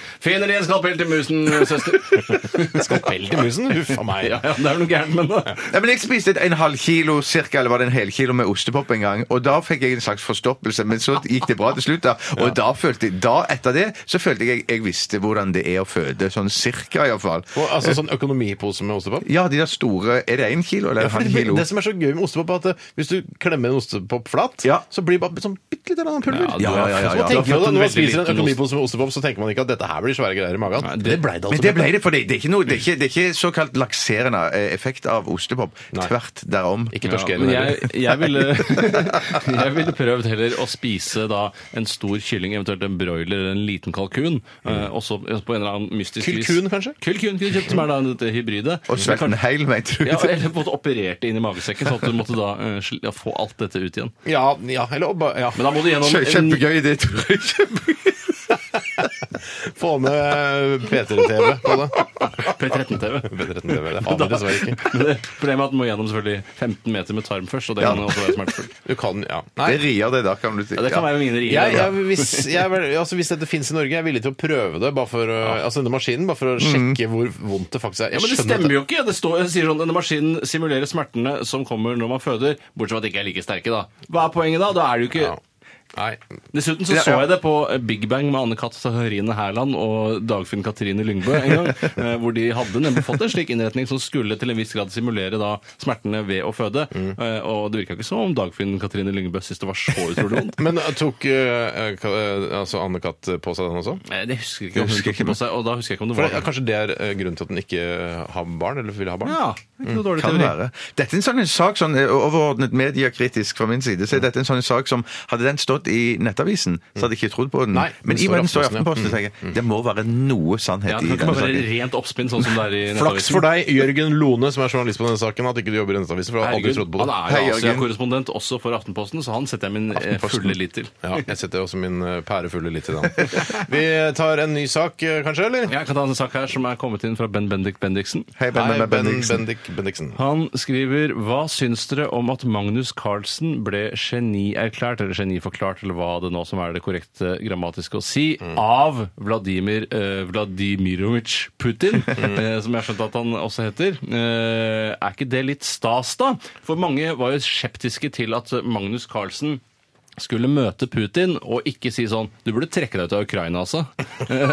Finner de en skalpell til musen, søster?
Skalpell til musen? Huff a meg.
Ja, ja, det er vel noe gærent med det.
Nei, men Jeg spiste et en halv kilo cirka, eller var det en hel kilo med ostepop en gang, og da fikk jeg en slags forstoppelse, men så gikk det bra til slutt. da, Og da følte jeg, da etter det så følte jeg jeg visste hvordan det er å føde, sånn cirka iallfall.
Og, altså sånn økonomipose med ostepop?
Ja, de der store Er det én kilo eller
Ja,
en
for
halv
det,
kilo?
det som er så gøy med ostepop, er at eh, hvis du klemmer en ostepop flat,
Ja.
så blir det bare sånn bitte litt av
Ja, ja,
pulver.
ja, ja,
Så man
ja.
tenker
Du har
jo
fått
det,
en
Når man
veldig
spiser en
liten
økonomipose med ostepop, så tenker man ikke at dette her blir svære greier i magen.
Nei,
Men
det-
det ble det
Men
altså.
det ble det, for det, det, er ikke noe, det, er ikke, det er ikke såkalt lakserende eh, effekt av ostepop. Tvert derom.
Ikke
Ja,
torskeelen
men
heller.
jeg, jeg, ville, jeg ville prøvd heller å spise da en stor kylling, eventuelt en broiler eller en liten kalkun. eh, Også på en eller annen mystisk vis.
Mm. Kalkun, kanskje?
Kalkun kunne kjøpt, som er da dette hybride.
Og svelget en hel, mente du?
Ja, eller på en måte operert det inn i magesekken, sånn at du måtte da eh, sl- ja, få alt dette ut igjen.
Ja, ja, eller å ba- ja.
Men da må du gjennom
Kjø-
en-
Kjempegøy idé, Tore. Kjempegøy.
Få med eh, P3-TV på det.
P13-TV.
P3-TV, det har vi dessverre ikke.
Men det- Problemet er at den må gjennom selvfølgelig 15 meter med tarm først, og det
Ja.
kan også være smertefullt.
Du kan, ja. Nei.
Det rier det, da, kan du si.
Ja, det kan
Ja.
være mine rier.
Jeg,
da.
jeg, hvis, jeg, er vel- altså, hvis dette fins i Norge, jeg er villig til å prøve det. Bare for, å- altså denne maskinen, bare for å sjekke hvor vondt det faktisk er.
Mm. Ja, men Det stemmer jo ikke! Det står, jeg sier sånn, Denne maskinen simulerer smertene som kommer når man føder, bortsett fra at de ikke er like sterke, da. Hva er poenget da? Da er det jo ikke
Ja. Nei,
Dessuten så
Ja,
så
ja.
jeg det på eh, Big Bang med Anne-Kat. Sarine Hærland og Dagfinn Katrine Lyngbø en gang, eh, hvor de hadde nemlig fått en slik innretning som skulle til en viss grad simulere da smertene ved å føde. Eh, Og det virka ikke som om Dagfinn Katrine Lyngbø syntes det var så utrolig vondt.
Men eh, tok eh, ka- eh, altså Anne-Kat. på seg den også?
Eh, Det husker jeg ikke om hun tok på seg, og da husker jeg ikke om det
For
var
det, Kanskje det er eh, grunnen til at den ikke eh, har barn? Eller vil ha barn?
Ja, ikke noe dårlig
Kan
teori.
være. Dette er en sånn en sak, sånn eh, overordnet mediekritisk fra min side, så er dette en sånn en sak som hadde den stått i Nettavisen, så hadde jeg ikke trodd på den.
Nei, den
Men i
står i
den står i
Aftenposten,
Aftenposten, tenker
Mm.
jeg. Det må være noe sannhet
Ja, det
i
kan ikke
den
bare være
saken.
rent oppspinn, sånn som det er i
Flaks for deg, Jørgen Lone, som er journalist på denne saken, at ikke du jobber i Nettavisen. For jeg hadde aldri trodd på
han
det.
er
Hei,
jo
Jørgen.
Asia-korrespondent også for Aftenposten, så han setter jeg min eh,
Aftenposten.
fulle lit til.
Ja, jeg setter også min eh, pærefulle litt i den. Vi tar en ny sak, eh, kanskje, eller?
Jeg kan ta en sak her som er kommet inn fra Ben Bendik Bendiksen.
Hei, Ben, ben,
Nei,
ben,
Ben
Bendiksen.
Bendik Bendiksen.
Han skriver Hva syns dere om at Magnus Carlsen ble genierklært, eller geniforklart, eller hva det nå som er det korrekte grammatiske å si,
Mm.
av Vladimir eh, Vladimirovitsj Putin,
Mm.
eh, som jeg har skjønt at han også heter? Eh, er ikke det litt stas, da? For mange var jo skeptiske til at Magnus Carlsen skulle møte Putin og ikke si sånn Du burde trekke deg ut av Ukraina, altså.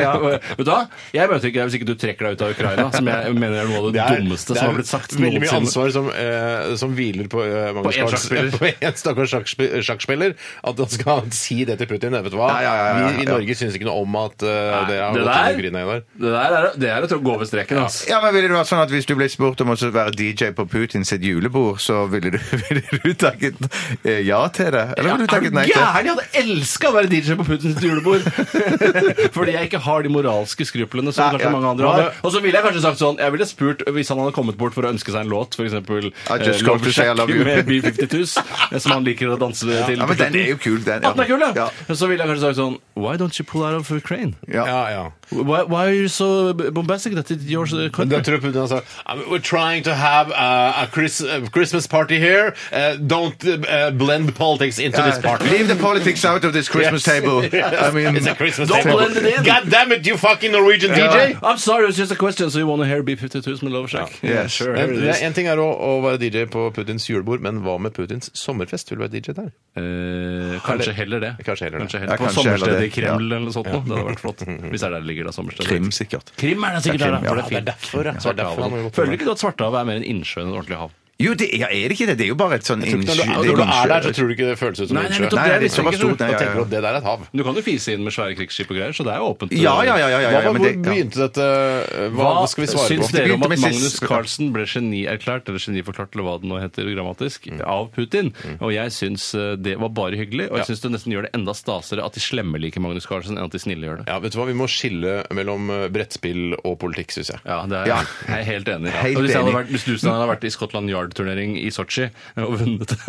ja. Vet du hva? Jeg møter ikke deg hvis ikke du trekker deg ut av Ukraina, som jeg mener er noe av det, dummeste som har blitt sagt
veldig mye
noensinne.
ansvar som, eh, som hviler på eh, Magnus
På en
Carlsen-
sjakkspiller.
På en stakkars sjakkspiller, sjakkspiller. At han skal si det til Putin. Vet du hva?
Ja, ja, ja, ja,
Vi i
ja.
Norge synes ikke noe om at eh, dere har
det
gått
der-
under grina i dag.
Det der er, det er å gå over streken, altså.
Ja, men ville det vært sånn at Hvis du ble spurt om å være DJ på Putins sitt julebord, så ville du, ville du takket eh, ja til det? Eller
er
ville du
du
takket nei til det?
gæren? Jeg hadde elska å være DJ på Putins julebord! Fordi jeg ikke har de moralske skruplene som
Nei,
kanskje
ja.
mange andre har. Og så ville jeg kanskje sagt sånn Jeg ville spurt hvis han hadde kommet bort for å ønske seg en låt, f.eks.
I just called to say I love you.
med B52s, eh, som han liker å danse til.
Ja, men den er jo kul, den.
At den er kul, ja.
Ja.
Så ville jeg kanskje sagt sånn Why don't you pull out of Ukraine?
Ja.
Ja, ja.
Why, why are you so bombastic that it's your
Mm.
Men
country?
da tror jeg Putin han sa "I mean, We're trying to have uh, a Chris, a Christmas party here. Uh, don't uh, blend politics into this party.
Leave the politics out of this Christmas
Yes.
table. I mean,
It's a Christmas
Don't
table.
blend it in.
God damn it, you fucking Norwegian DJ!
I'm sorry, it's just a question. So you want to hear B52s med Love Shack?
Ja. Yes.
here it
Men
is.
det er Eh, En ting er å, å være DJ på Putins julebord, men hva med Putins sommerfest? Vil du være DJ der?
Eh, kanskje heller det.
Kanskje heller det.
Kanskje
Ja,
På
kanskje heller
sommerstedet
det.
i Kreml eller noe sånt. nå. Det hadde vært flott. Hvis det er der det ligger, da. Sommerstedet.
Krim, sikkert.
Krim er det sikkert
Ja,
der, da.
Krim, ja.
For det er fint.
derfor, ja. Det er derfor han har
Svartehavet.
gått
Føler du ikke du at Svartehavet er mer en innsjø enn et ordentlig hav?
Jo, det er, ja, er det ikke det. Det er jo bare et sånn
Jeg tror ikke Når du, når
det
du er der, så
innsky-
tror du ikke det liksom føles ut som
Nei,
en
nei,
sjø.
nettopp,
Nei,
det er
det er
visst
såpass
ikke
stort.
sånn.
Nei,
Da
ja,
tenker du
ja.
at det der er et hav.
Men Du kan jo fise inn med svære krigsskip og greier, så det er jo åpent.
Ja, ja, ja. ja, ja, ja,
Hva,
men
hvor
det-
begynte dette eh, Hva, hva skal vi svare
syns
på?
dere om
begynte
at
med
Magnus
sist-
Carlsen ble genierklært, eller geniforklart, eller hva det nå heter grammatisk, av Putin? Og jeg syns eh, det var bare hyggelig, og jeg syns det nesten gjør det enda stasere at de slemme liker Magnus Carlsen, enn at de snille gjør det.
Ja, vet du hva, Vi må skille mellom eh, brettspill og politikk, syns jeg.
Ja, det er,
Ja.
jeg er helt enig.
Helt
og hvis, jeg hadde
enig.
vært, hvis du Stein, hadde vært i Scotland Yard-turnering i Sotsji og vunnet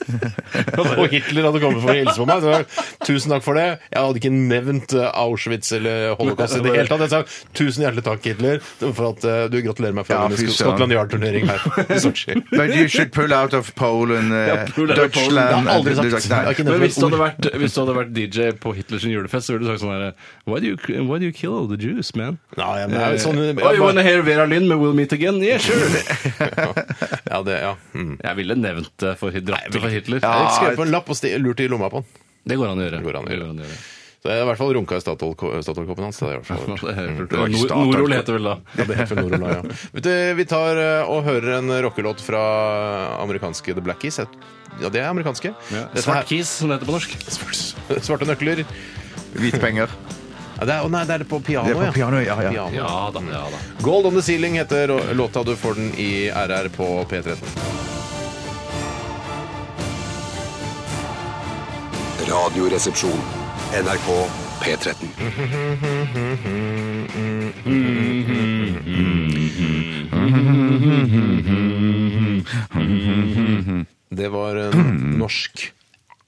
Og
den
Hitler hadde kommet for å hilse på meg. Så jeg, sa, tusen takk for det. Jeg hadde ikke nevnt eh, Auschwitz eller holocaust i det hele tatt. Jeg sa tusen hjertelig takk, Hitler, for at eh, du gratulerer meg for
Ja,
å vinne
fy søren.
Scotland Yard-turnering her i Sotsji.
But you should pull out of Poland, eh,
Ja, pull out of Poland. Det har
Dutchland
jeg aldri sagt.
Nei.
Jeg har ikke nevnt
Men hvis du,
et
hadde
ord.
vært, hvis du hadde vært DJ på Hitlers julefest, så ville du sagt sånn her why, do you- why do you kill all the Jews, man?
Nei, men det er jo sånn-
Eh, oh, you wanna hear Vera Lynn med We'll Meet Again? Yeah, sure!
Ja, det, ja. Mm.
Jeg ville nevnt det for, dratt det for Hitler.
Jeg skrev på en lapp og sti- lurt i lomma på den.
Det går an å gjøre.
går an å gjøre. Så jeg har i hvert fall runka i Statoil- Statoil-koppen hans. Det har jeg i hvert fall gjort.
Nor- Norol heter vel da.
Ja, det heter Norola, ja. Vet du, vi tar eh, og hører en rockelåt fra amerikanske The Black Keys. Et- Ja, det er amerikanske. Dette
Svart Keys, som det heter på norsk.
her- Svarte nøkler. Ja,
Hvite penger.
det er, å nei, det er det på piano,
Det er på piano, ja, ja.
Piano.
Ja da, ja da.
Gold on the ceiling heter rå- låta. Du får den i RR på P13.
Radioresepsjon.
NRK P13.
Det var en norsk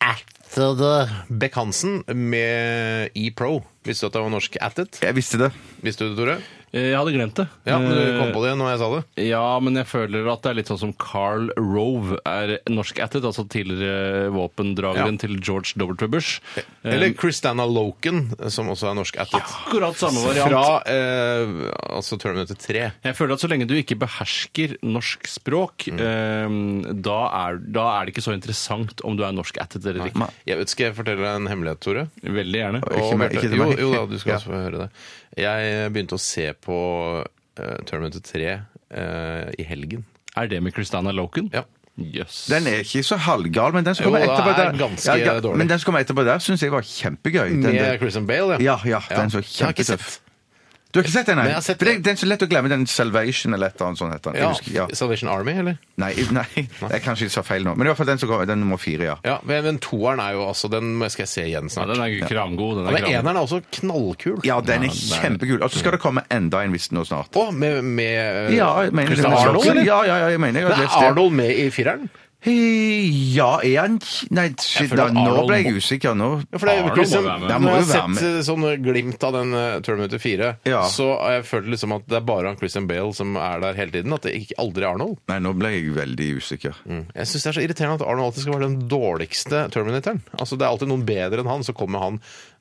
Ættede Beck-Hansen med E-Pro. Visste du at det var norsk ættet?
Jeg visste det.
Visste du det, Tore?
Eh, Jeg hadde glemt det.
Ja, men du
Eh,
kom på det når jeg sa det.
Ja, men jeg føler at det er litt sånn som Carl Rove er norskættet, altså tidligere våpendrageren
Ja.
til George W. Bush.
Eller
Eh,
Christana Loken, som også er norsk ættet.
akkurat samme variant.
Fra eh, altså Terminator 3.
Jeg føler at så lenge du ikke behersker norsk språk, eh, da, er, da er det ikke så interessant om du er norskættet eller ikke.
Jeg vet, skal jeg fortelle deg en hemmelighet, Tore?
Veldig gjerne.
Ikke
Og
meg,
Bjarte-
ikke til
jo,
meg.
jo da, du skal
Ja.
også få høre det. Jeg begynte å se på eh, Terminator 3 eh, i helgen.
Er det med Christina Loken?
Ja.
Jøss.
Den er ikke så halvgal, men den som
Jo,
kommer
da,
etterpå
er
der
ganske
ga-
dårlig.
Men den som kommer etterpå der, syns jeg var kjempegøy. Den,
Med
der.
Christian Bale,
ja, ja, den så
Jeg har ikke
kjempetøff.
sett.
Du har ikke sett den, nei?
Men jeg har sett
For det,
den.
den er så lett å glemme. Den Salvation eller et eller annet sånt heter den. Jeg
Ja.
husker- Ja.
Salvation Army, eller?
Nei, nei, jeg kanskje jeg sa feil nå. Men i hvert fall den som kommer, den nummer fire, ja.
Ja, men, men toeren er jo altså Den må- skal jeg se
Ja,
igjen snart.
den er kramgod. Den
Ja,
er
men
kramgod.
eneren er også knallkul.
Ja, den er
Ja, den er-
kjempekul. Og så skal det komme enda en, visst nå snart.
Å, med, med eh,
Ja, jeg mener
Christian Arnold, eller?
Ja, ja, ja, jeg mener jeg har
Men
lest
er
det.
Arnold med i fireren?
Hei, Ja, er han Nei, shit,
føler
da,
at
nå
Arnold
ble jeg
må-
usikker. Nå
Ja, for det er jo
Arnold
liksom,
må være med.
Ja, må
Når jeg har
jo være
sett eh, sånn glimt av den eh, Terminator 4,
Ja.
så har jeg følt liksom at det er bare han Christian Bale som er der hele tiden. At det ikke aldri er Arnold.
Nei, nå ble jeg veldig usikker.
Jeg syns det er så irriterende at Arnold alltid skal være den dårligste Terminatoren. Altså Det er alltid noen bedre enn han, så kommer han,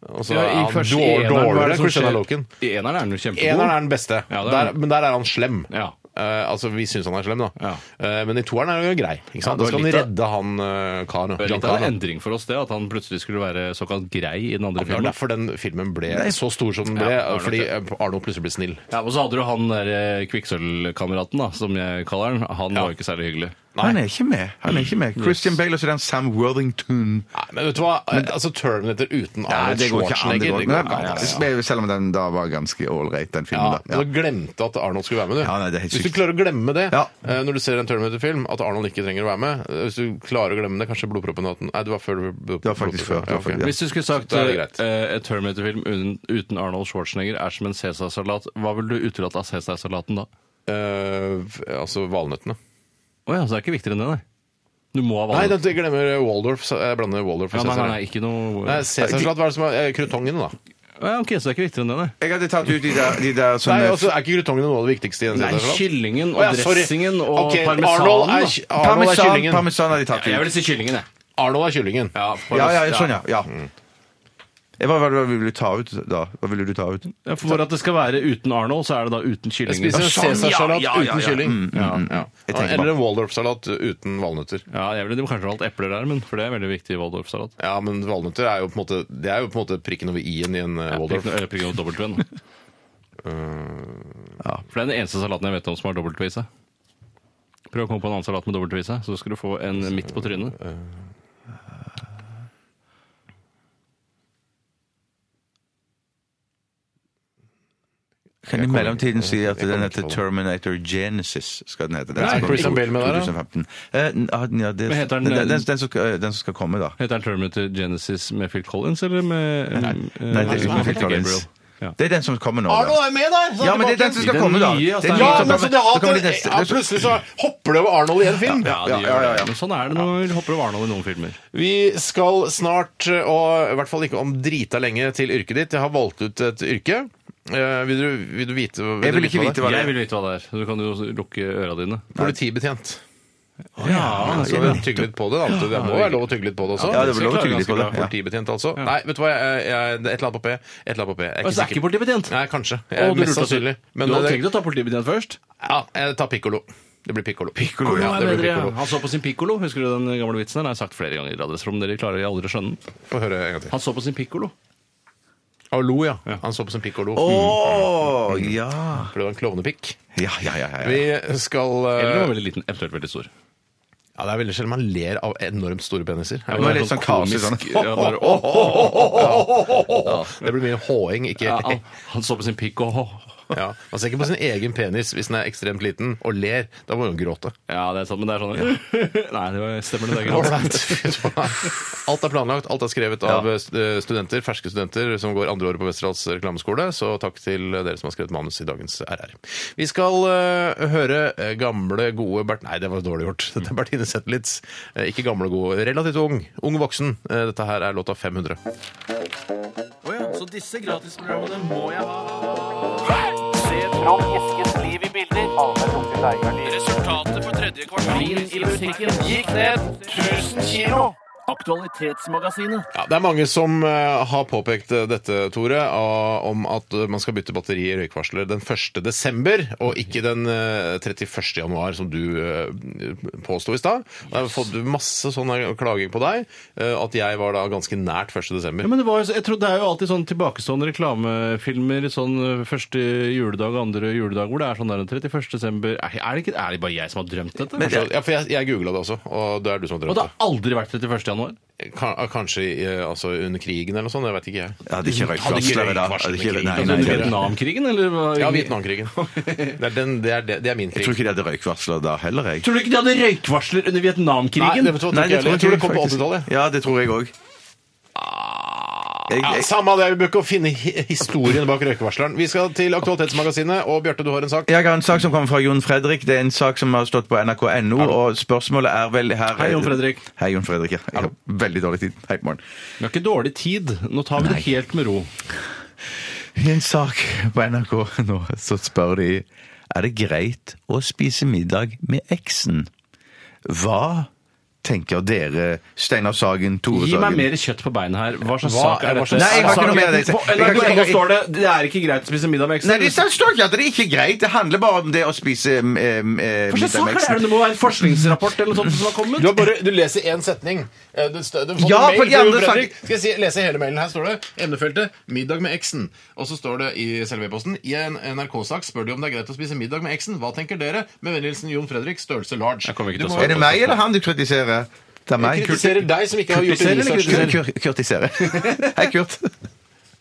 og så
Ja,
er
i
han
første
dår-
eneren, hva er
dårligere
det
enn
som
Christian
skjer?
Loken.
I eneren er den jo kjempegod.
Eneren er den beste,
Ja, det er
der, men der er han slem.
Ja.
Eh, altså Vi syns han er slem, da.
Ja.
Eh, men i toeren er han jo grei. Ikke sant?
Ja,
da
det var
skal han
litt av-
redde han uh, karen.
Det er
John
litt av en
Connor.
endring for oss, det. At han plutselig skulle være såkalt grei i den andre
Det var
filmen.
derfor den filmen ble så stor som den ble,
Ja, det var nok
fordi eh, Arnold plutselig ble snill.
Ja, og så hadde du han der eh, kvikksølvkameraten, da, som jeg kaller han. Han var jo ikke særlig hyggelig.
Han er ikke med. Han er ikke med. Christian Bale og så den Sam Worthington.
Nei, men vet du hva? altså Terminator uten
Nei,
Arnold
det går ikke an. Det
Schwarzenegger
går
det går
ikke
ikke an, altså.
an. Selv om den da var ganske ålreit, den
Ja,
filmen.
men
da.
Du glemte at Arnold skulle være med, du.
Ja, nei, det er helt
hvis du
sykt.
klarer å glemme det
Ja.
eh, når du ser en Terminator-film, at Arnold ikke trenger å være med eh, Hvis du klarer å glemme det, kanskje blodproppen og at den- Nei, det var før blodproppen.
Det var faktisk før, det var
Ja, ok.
faktisk-
Hvis du skulle sagt
Da er det
eh,
greit.
en Terminator-film uten, uten Arnold Schwarzenegger er som en cæsarsalat, hva vil du utelate av cæsarsalaten da?
Eh, f- altså valnøttene.
Å ja, så det er ikke viktigere enn det, nei. Du må ha
Nei,
valgt.
da- jeg glemmer Waldorf. så Jeg blander Waldorf
Ja,
og
nei, nei, nei,
Cæsar.
ikke noe
Nei, Cæsarsalat, hva er det som er eh, krutongene, da?
Å ja, Ok, så det er ikke viktigere enn det, nei.
Jeg hadde tatt ut de der, de der
Nei,
sånne
altså, Er ikke krutongene noe av det viktigste i en
Nei,
cæsarsalat?
kyllingen og
Å, ja, sorry.
dressingen og
Ok,
parmesanen,
Arnold er,
da.
ky- Arnold er
Parmesan,
kyllingen.
parmesan hadde jeg tatt
Jeg
ut.
vil si kyllingen, jeg.
Arnold er kyllingen.
Ja,
Ja, ja, sånn, ja. ja.
Mm.
Eh, Hva, hva, hva ville du ta ut, da? Hva ville du ta ut?
Ja, For at det skal være uten Arnold, så er det da uten
Jeg
kyllingen.
spiser en
sånn, ja,
cæsarsalat
ja, ja,
uten
ja.
kylling. Ja, ja.
Jeg tenker
Eller en Waldorf-salat uten valnøtter.
Ja, jeg ville de kanskje valgt epler der, men for det er veldig viktig i Waldorf-salat.
Ja, men valnøtter er jo på en måte Det er jo på en måte prikken over i-en i en eh, Waldorf.
Prikken- eh, prikken over dobbeltven.
Eh.
For det er den eneste salaten jeg vet om som har dobbeltv i seg. Prøv å komme på en annen salat med dobbelt V i seg, så skal du få en midt på trynet.
eh. Kan i mellomtiden si at den heter Terminator Genesis, skal den hete. Den
Nei,
skal komme i
Christian Bale med der, da?
2015. Eh, n- ah, den- ja, det-
Hva heter den?
den- den- Den som skal- den som skal komme, da.
Heter den Terminator Genesis med Phil Collins, eller med
Nei,
eh,
nei, det er
eh,
uten Phil
Gabriel?
Collins.
Ja.
Det er den som kommer nå. da.
Arnold er med der! så
Ja, men det er
tilbake.
den som skal
I den
komme, da.
nye, altså,
Det
den
er
nye
Ja,
den som
men så
kommer.
det
Så
har
kommer de neste.
ja, Plutselig så hopper det over Arnold i en
Ja,
film.
de
Ja,
gjør
ja, ja, ja.
det. Men sånn er det når du hopper over Arnold i noen filmer.
Vi skal snart, eh, og i hvert fall ikke om drita lenge, til yrket ditt. Jeg har valgt ut et yrke. Eh, Vil du, vil du vite vil
Jeg vil
du
ikke vite hva det
Jeg
er.
vil vite hva det er. så Du kan jo lukke øra dine.
Politibetjent.
Ja,
Så Altså, tygge litt på det, da. Det må være lov å tygge litt på det også.
Ja, det er vel lov
skal
å tygge
jeg
litt på
klare
det.
ganske
Ja.
Politibetjent, altså. Nei, vet du hva, jeg, jeg, det er et eller annet på P. Et eller annet på P. Jeg er
Og så er ikke
sikker.
politibetjent!
Nei, kanskje.
Å,
Jeg,
du
mest
lurte oss.
sannsynlig. Men
du hadde
det-
tenkt å ta politibetjent først?
ja, jeg tar pikkolo. Det blir pikkolo. Pikkolo,
Piccolo
ja,
er
det blir
bedre, ja.
pikkolo.
Han så på sin pikkolo. Husker du den gamle vitsen? Den har jeg sagt flere ganger i Radioresepsjonen. Dere klarer aldri å skjønne den.
Få høre en gang til.
Han så på sin pikkolo.
Å, lo, ja. Han så på som pikkolo.
Å, ja.
For det var en klovnepikk.
Ja, ja, ja. ja, ja.
Vi skal eh,
Eller den var veldig liten, eventuelt veldig stor.
Ja, det er veldig sjelden man ler av enormt store peniser.
Det var litt sånn kaos i sånn.
komisk, ja, bare, åh, åh,
Det blir mye håing, ikke
ja, han, han så på sin pikk og åh.
ja. Man ser ikke på sin egen penis hvis den er ekstremt liten, og ler. Da må man jo gråte.
Ja, det er sant, men det er sånn Nei, det var, stemmer det. det er greit.
Alt er planlagt, alt er skrevet av eh, studenter, ferske studenter som går andre året på Westerdals reklameskole, så takk til dere som har skrevet manus i dagens RR. Vi skal eh, høre eh, gamle, gode Bert... Nei, det var dårlig gjort. Dette er Bertine Zetlitz. Eh, ikke gamle, gode, relativt ung. Ung voksen. Eh, dette her er låta 500. Ja, det er mange som eh, har påpekt eh, dette, Tore, av- om at eh, man skal bytte batteri i røykvarsler den 1. desember, og ikke den eh, 31. januar, som du eh, påsto i stad. Og Jeg har fått masse sånn klaging på deg, eh, at jeg var da ganske nært 1.
Ja,
desember.
men det, var, jo så- jeg tror det er jo alltid sånn tilbakestående reklamefilmer sånn første juledag og andre juledag hvor det er sånn der den 31. desember Er, er, det ikke, er det bare jeg som har drømt dette?
Så, ja, for jeg, jeg googla det også, og det er du som
og
har drømt
det
det.
har aldri vært 31. januar?
Kan- Kanskje eh, altså, under krigen eller noe sånt, det vet ikke jeg.
Jeg hadde ikke røykt varslere da. Hadde ikke- nei, nei,
Altså, under
nei, nei.
Vietnamkrigen, eller? hva?
Ja, Vietnamkrigen. Det er, den, det er, det, det er min
Jeg tror
krig.
ikke de hadde røykvarsler da heller, jeg.
Tror du ikke de hadde røykvarsler under Vietnamkrigen?
Nei, det tror jeg, ikke heller. jeg tror det kom på 80-tallet.
Ja, det tror jeg òg. Jeg,
Ja,
jeg,
samme det, vi bør ikke finne hi- historien bak røykevarsleren. Vi skal til Aktualitetsmagasinet, og Bjarte, du har en sak.
jeg har en sak som kommer fra Jon Fredrik. Det er en sak som har stått på nrk.no, og spørsmålet er vel her
Hei, Jon Fredrik.
Hei, Jon Fredrik. Ja. Jeg har veldig dårlig tid. Hei, morgen.
Vi har ikke dårlig tid. Nå tar vi det helt med ro.
I en sak på NRK nå så spør de er det greit å spise middag med eksen. Hva tenker dere, Steinar Sagen, Tore
Gi meg
Sagen?
mer kjøtt på beinet her. Hva slags
Hva
sak
er-
er
hva
dette?
slags- Nei,
jeg har ikke noe mer å si.
På
Jeg kan ikke- jeg
NRK
kan ikke-
står det det er ikke greit å spise middag med eksen.
Nei, det står ikke at det ikke er greit. Det handler bare om det å spise eh, eh, middag
Hva slags sak er det? Er
med
det?
eksen.
Det må være en forskningsrapport eller noe sånt som har kommet.
Du, har bare, du leser én setning. Eh, Du, stø- du får
Ja,
en mail
for de
fra
andre
Jon Fredrik.
sak-
Skal jeg si, lese hele mailen? Her står det emnefeltet 'Middag med eksen'. Og så står det i selve e-posten i en NRK-sak spør de om det er greit å spise middag med eksen. Hva tenker dere? Med vennlig hilsen Jon Fredrik, størrelse large.
Jeg kommer ikke til
Du
å
må-
svare.
Er det meg eller han du kritiserer? Det er meg.
Jeg kritiserer deg som ikke har gjort
Kritiserer eller
research.
Kur- kur- Kurtisere. Hei, Kurt.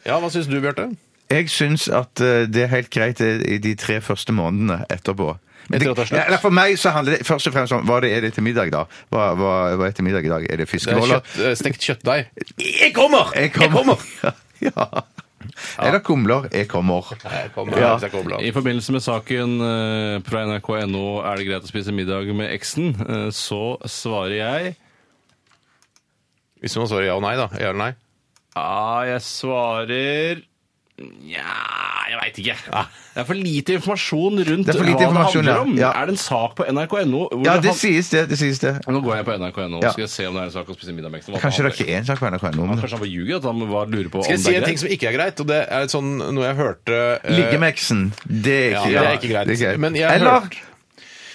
Ja, hva syns du, Bjarte?
Jeg syns at eh, det er helt greit eh, i de tre første månedene etterpå. Men
Etter at det er slutt?
ja, eller for meg så handler det først og fremst om hva det er det til middag, da. Hva, hva, hva er til middag i dag? Er det
Det er
fiskeboller?
kjøtt, eh, stekt kjøttdeig.
Jeg kommer! Jeg kommer! Ja. ja. Eller kumler. Jeg kommer.
Jeg kommer,
Ja.
hvis jeg kobler av.
I forbindelse med saken eh, fra nrk.no er det greit å spise middag med eksen, eh, så svarer jeg
Hvis man svarer ja og nei, da. Ja eller nei?
Ja, jeg svarer Nja, jeg veit ikke. Det er for lite informasjon rundt
Det er for lite
hva
informasjon,
det
ja.
handler om.
Ja.
Er det en sak på nrk.no? hvor
Ja, det
han-
sies det. det sies det.
Nå går jeg på nrk.no og
Ja.
skal jeg se om det er en sak å spise middag med eksen. Hva
Kanskje det
faen?
ikke er en sak på NRK ennå. men-
Kanskje han bare ljuger? At han bare lurer på
Skal
om
jeg si
det
en
er
ting
greit?
som ikke er greit? Og det er sånn noe jeg hørte eh,
Ligge med eksen, det er ikke,
Ja, det er ikke greit. Men jeg har
Eller
hørt-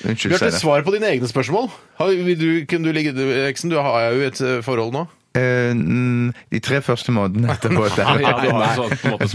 Unnskyld,
Bjarte,
Steinar.
svar på dine egne spørsmål. Har, vil du, kunne du ligge, du, Eksen, du har jo et eh, forhold nå.
eh, n- de tre første månedene etterpå.
Ja, ja, du har
Nei.
en sånn, på en måte,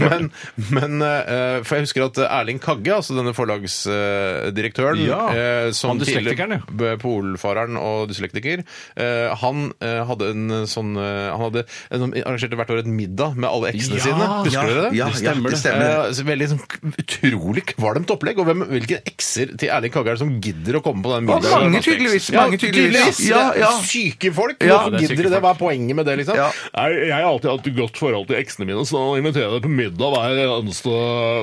Men, men eh, for jeg husker at Erling Kagge, altså denne forlagsdirektøren
Ja.
eh, som
Han dyslektikeren,
tidligere b- polfareren og dyslektiker, eh, han eh, hadde en sånn eh, Han hadde en, han arrangerte hvert år et middag med alle eksene
Ja,
sine.
ja,
Husker dere det?
ja,
Det
ja, det stemmer.
Eh, så veldig sånn k- utrolig kvalmt opplegg. Og hvem, hvilke ekser til Erling Kagge er det som gidder å komme på den
Og
middagen?
mange, tydeligvis. Mange, tydeligvis.
Ja,
Ja, ja.
Syke folk! Hvorfor
Ja.
Ja, det er
gidder de
syke
det? Hva er poenget med det, liksom?
Ja.
Nei, jeg har alltid hatt et godt forhold til eksene mine, så da inviterer jeg deg på middag hver eneste,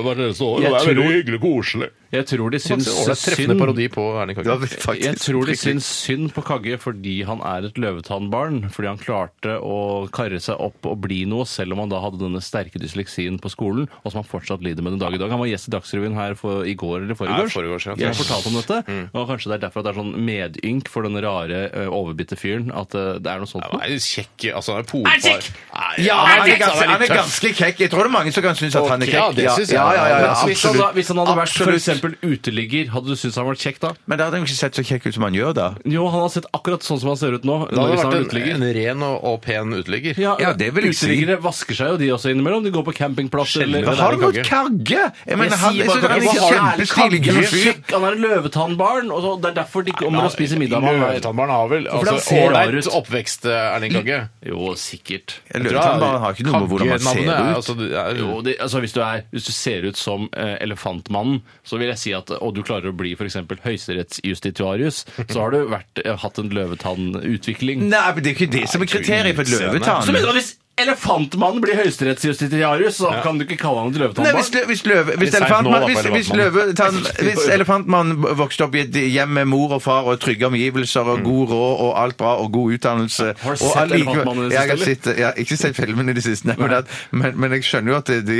hvert eneste år.
Jeg
og det er
tror-
veldig hyggelig og koselig.
Jeg tror de
sånn
syns
Treffende parodi på Erling
Ja,
Kagge.
faktisk.
Jeg tror de syns synd på Kagge fordi han er et løvetannbarn. Fordi han klarte å karre seg opp og bli noe, selv om han da hadde denne sterke dysleksien på skolen, og som han fortsatt lider med den dag i dag. Han var gjest i Dagsrevyen her for, i går eller
Nei,
foregårs.
foregårs, ja. Mm.
Jeg fortalte om dette, og kanskje det er derfor at det er sånn medynk for den rare, ø, overbitte fyren. At ø, det er noe sånt.
Han er kjekk altså, han er
Er
polfar.
han kjekk?
Nei,
Ja,
han er
han er,
litt
ganske, han er
tøff.
ganske kjekk. Jeg tror det er mange som kan synes at han er
Ok,
kjekk.
ja, det synes jeg.
Ja, ja, ja, ja,
Men
Altså, hvis, han da,
absolutt.
hvis han hadde vært for
Absolutt.
eksempel uteligger, hadde du syntes han var kjekk da?
Men da hadde han jo ikke sett så kjekk ut som han gjør, da.
Jo, han hadde sett akkurat sånn som han ser ut nå. hvis
Da
han
hadde det
var
vært
uteligger.
en, en ren og, og pen uteligger.
Ja,
Ja, det vil jeg si.
Uteliggere vasker seg jo de også innimellom. De går på campingplass eller
Sjelden Men
Har du
Erling
mot Kagge? Jeg mener, han,
sier
jeg synes
bare
han er
Kagge.
en
Han er
kjempestilig
Kagge.
gull fyr.
Han er en løvetannbarn, og så, det er derfor de kommer og spiser middag med han.
Løvetannbarn har vel
Fordi han
altså,
ser rar
ålreit
ut.
oppvekst, eh, Erling Kagge.
Jo, sikkert.
Jeg lurer på om han har ikke noe med hvordan man ser
Kagge-navnet er,
ut.
altså, det er-
Jo, det, altså hvis, du er, hvis du ser ut som eh, Elefantmannen, så vil jeg si at Og du klarer å bli f.eks. høyesterettsjustitiarius, så har du vært, eh, hatt en løvetannutvikling.
Nei, men det er ikke det som er kriteriet for et
utseende.
Så mener du
løvetann.
at hvis Elefantmannen blir høyesterettsjustitiarius, så kan du ikke kalle han et
Nei, hvis,
løvetannbarn?
lø- hvis, løve, hvis,
Det er seint nå,
elefantmann-
da,
hvis,
for
hvis,
elefantmann.
løvetann- hvis elefantmannen vokste opp i et hjem med mor og far og trygge omgivelser og god råd og alt bra og god utdannelse
Mm. Har du
og
sett
allikevel-
Elefantmannen i det
Ja, Jeg har
siste,
sett- jeg har ikke sett filmen i det siste, nei, men, at, men, men jeg skjønner jo at det, de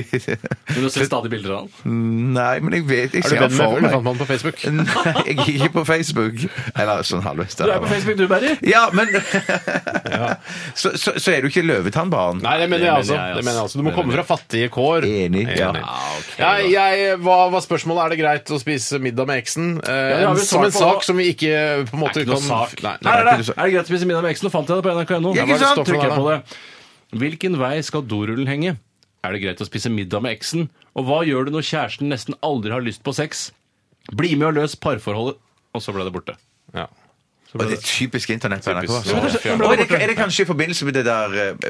Men du ser stadig bilder av han.
Nei, men jeg vet Jeg
Er du
ser det
venn med
for meg.
Elefantmannen på Facebook?
Nei, jeg er ikke på Facebook. Eller sånn halvveis. der.
Du er på Facebook, du, Berry.
Ja, men så, så, så er du ikke løvetannbarn.
Nei, det mener
Det mener
jeg altså.
jeg altså.
Det mener jeg altså. Du må
Det
komme
mener
fra fattige kår.
Enig, ja.
Ja, jeg, hva var spørsmålet? Er det greit å spise middag med eksen? Eh,
det har vi
som en
svart på.
sak som vi ikke på en måte
Det er ikke noe
kan
sak.
Nei, nei,
Her
nei.
er det! Er det greit å spise middag med eksen? Nå fant jeg det på nrk.no.
Ja,
Der var
ikke
det
sant?
stoff,
Trykk
der,
på
da. Hvilken vei skal dorullen henge? Er det greit å spise middag med eksen? Og hva gjør du når kjæresten nesten aldri har lyst på sex? Bli med og løs parforholdet. Og så ble det borte.
Ja.
Og det er typisk internett på NRK.
Typisk.
altså.
Ja,
kanskje-
fjern.
Og er, det, er det kanskje i forbindelse med det der eh,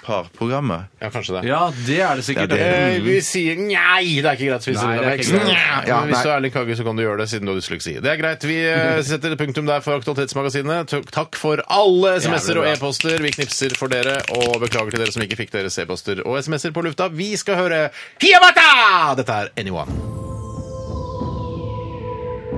parprogrammet?
ja, kanskje det.
Ja, det er det sikkert. Mm.
Ja, det
Eh, vi sier nei, det er ikke greit å spise
Nei,
middag med
det er ikke
eksen.
greit.
Nja,
Ja,
Men hvis
nei.
du er Erling Kagge, så kan du gjøre det, siden du har dysleksi. Det er greit. Vi eh, setter punktum der for Aktualitetsmagasinet. Tok- Takk for alle SMS-er og e-poster. Vi knipser for dere, og beklager til dere som ikke fikk deres e-poster og SMS-er på lufta. Vi skal høre Hiabata! Dette er Anyone.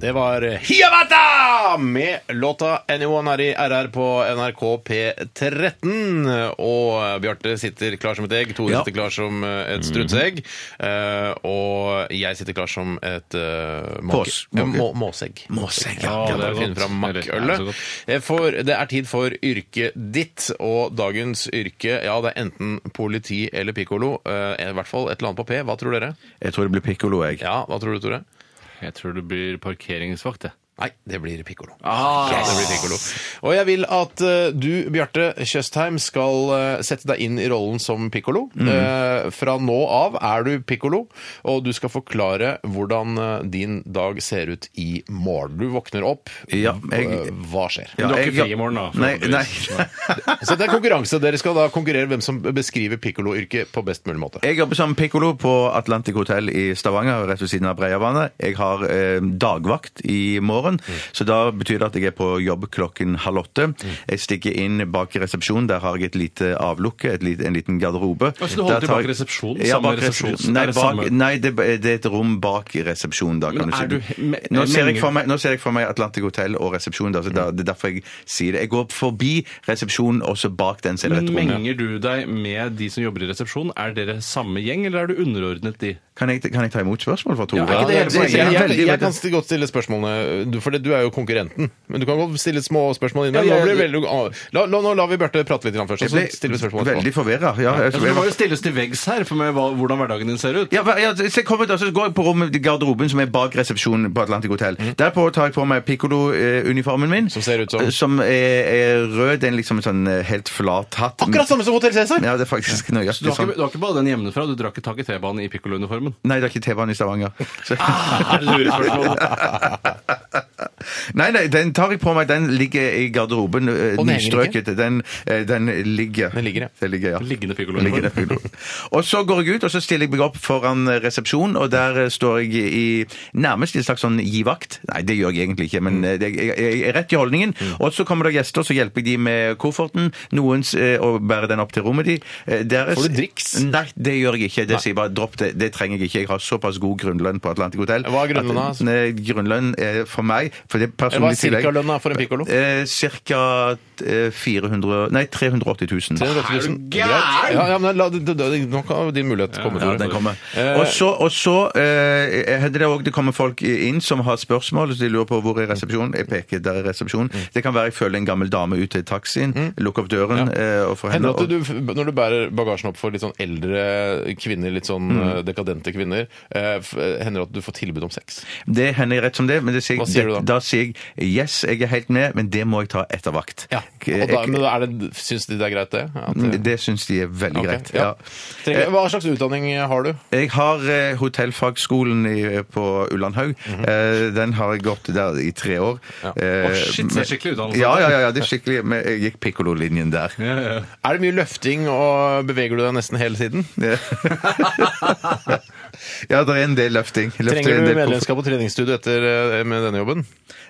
Det var Hiawatha med låta 'Anyone' her i RR på NRK P13. Og Bjarte sitter klar som et egg, Tore sitter klar som et strutseegg.
Mm.
eh, Og jeg sitter klar som et eh, måke-
Pås-
eh,
måke.
må- måsegg.
Måsegg,
Ja,
ja.
det
det
er
er
finne
godt.
fram
Det er rett. Ja, det er så
makkølet.
godt.
Eh, For det er tid for yrket ditt, og dagens yrke ja, det er enten politi eller pikkolo. I hvert fall et eller annet på P. Hva tror dere?
Jeg tror det blir pikkolo, jeg.
Ja, hva tror du, Tore?
Jeg tror det blir parkeringsvakt, jeg.
Nei, det blir pikkolo.
Ah,
Ja, det blir piccolo. Og jeg vil at eh, du, Bjarte Tjøstheim, skal eh, sette deg inn i rollen som pikkolo.
Mhm.
Eh, fra nå av er du pikkolo, og du skal forklare hvordan eh, din dag ser ut i morgen. Du våkner opp.
Ja, jeg-
Eh, hva skjer?
Ja,
du har ikke
jeg-
fri i morgen, da,
Nei, nei.
Så det er konkurranse. Dere skal da konkurrere hvem som beskriver pikkoloyrket på best mulig måte.
Jeg jobber som pikkolo på Atlantic Hotel i Stavanger, rett ved siden av Breiavannet. Jeg har eh, dagvakt i morgen,
Mm.
så da betyr det at jeg er på jobb klokken halv åtte. Jeg stikker inn bak i resepsjonen, der har jeg et lite avlukke, et lite, en liten garderobe.
så du holder
Der
til
tar
bak
jeg-
resepsjonen?
Ja,
Samme
bak resepsjonen.
resepsjon?
Nei,
Er det
bak,
samme-
nei det, det er et rom bak resepsjonen, da, kan
Men
du si.
er Mm. du he- me-
nå, ser jeg
menger-
for meg, nå ser jeg for meg Atlantic Hotel og resepsjonen, da, så da, det er derfor jeg sier det. Jeg går forbi resepsjonen, og så bak den ser jeg
Men
et rom.
menger du deg med de som jobber i resepsjon? Er dere samme gjeng, eller er du underordnet de?
Kan jeg, kan jeg ta imot spørsmål fra Tore?
Ja, er ikke det hele
jeg,
poenget?
jeg,
er
jeg,
veldig-
kan godt stille spørsmålene. Du du- for det, du er jo konkurrenten. Men du kan godt stille små spørsmål
Ja,
inne. Nå,
jeg-
blir det veldig, ah, la, la, nå lar vi Bjarte prate litt grann først, og så stiller vi spørsmål etterpå.
veldig forvirra. Ja, jeg,
Så det altså, må jo stilles til veggs her for med hva, hvordan hverdagen din ser ut.
Ja, hva- ja, så jeg kommer, altså, går jeg på rommet i garderoben som er bak resepsjonen på Atlantic Hotel. Derpå tar jeg på meg piccolo-uniformen min.
Som ser ut som?
Eh, Som er, er rød. Det er en liksom sånn eh, helt flat hatt.
Akkurat samme som Hotell Cæsar!
Ja, det er faktisk
Så du
nøyaktig
har,
Liksom.
sånn.
ikke, du har ikke bare den hjemmefra, du drakk ikke tak i T-banen i pikkolo-uniformen.
Nei, det er ikke T-banen i Stavanger. Så...
Lurespørsmål.
Nei, nei, den tar jeg på meg. Den ligger i garderoben. eh,
den henger
Nystrøket. Den, eh, den ligger.
Den ligger, ja.
Den ligger, ja.
Liggende piccolo.
Liggende piccolo. Og så går jeg ut, og så stiller jeg meg opp foran eh, resepsjonen, og der eh, står jeg i nærmest i en slags sånn gi-vakt. Nei, det gjør jeg egentlig ikke, men eh, det, jeg, jeg er rett i holdningen.
Mm.
Og så kommer det gjester, så hjelper jeg de med kofferten. Noens eh, å bære den opp til rommet de. eh, Deres.
Får du driks?
Nei, det gjør jeg ikke. Det sier jeg bare dropp det. Det trenger jeg ikke. Jeg har såpass god grunnlønn på Atlantic Hotel.
Hva er grunnlønna,
at-
altså?
Eh, Grunnlønn er for meg for det er
Hva
personlig
er cirkalønna for en pikkolo?
Eh, cirka eh, 400 Nei, 380 000.
380 000.
Er du gæren?
Ja, ja, men la, det- det- det- nå kan jo din mulighet komme.
Ja,
Tore.
den kommer.
Eh,
Og så, og så eh, hender det òg det kommer folk inn som har spørsmål, så de lurer på hvor er resepsjonen. Jeg peker der er resepsjonen.
Mm.
Det kan være jeg følger en gammel dame ut til taxien, lukker opp døren eh, og får henne
Hender det at du, når du bærer bagasjen opp for litt sånn eldre kvinner, litt sånn eh, dekadente kvinner, eh, f- hender det at du får tilbud om sex?
Det hender rett som det, men det sier,
Hva sier du
det,
da?
da sier jeg yes, jeg er helt med, men det må jeg ta etter vakt. Eh,
Og da, men da er det, syns de det er greit, det? At,
Jeg- det syns de er veldig
Ok,
greit.
Mm, ja. Eh,
ja.
Trenger, hva slags utdanning har du?
Jeg har eh, hotellfagskolen i, på Ullandhaug. eh, den har jeg gått der i tre år.
Mhm. Ja.
Eh,
Å, shit, så er det skikkelig utdannelse.
Ja, ja, ja, ja, det er skikkelig. Men jeg gikk pikkololinjen der.
Er det mye løfting, og beveger du deg nesten hele tiden?
ja, det er en del løfting. Løfter
Trenger
en
du
del på-
medlemskap på treningsstudio etter eh, med denne jobben?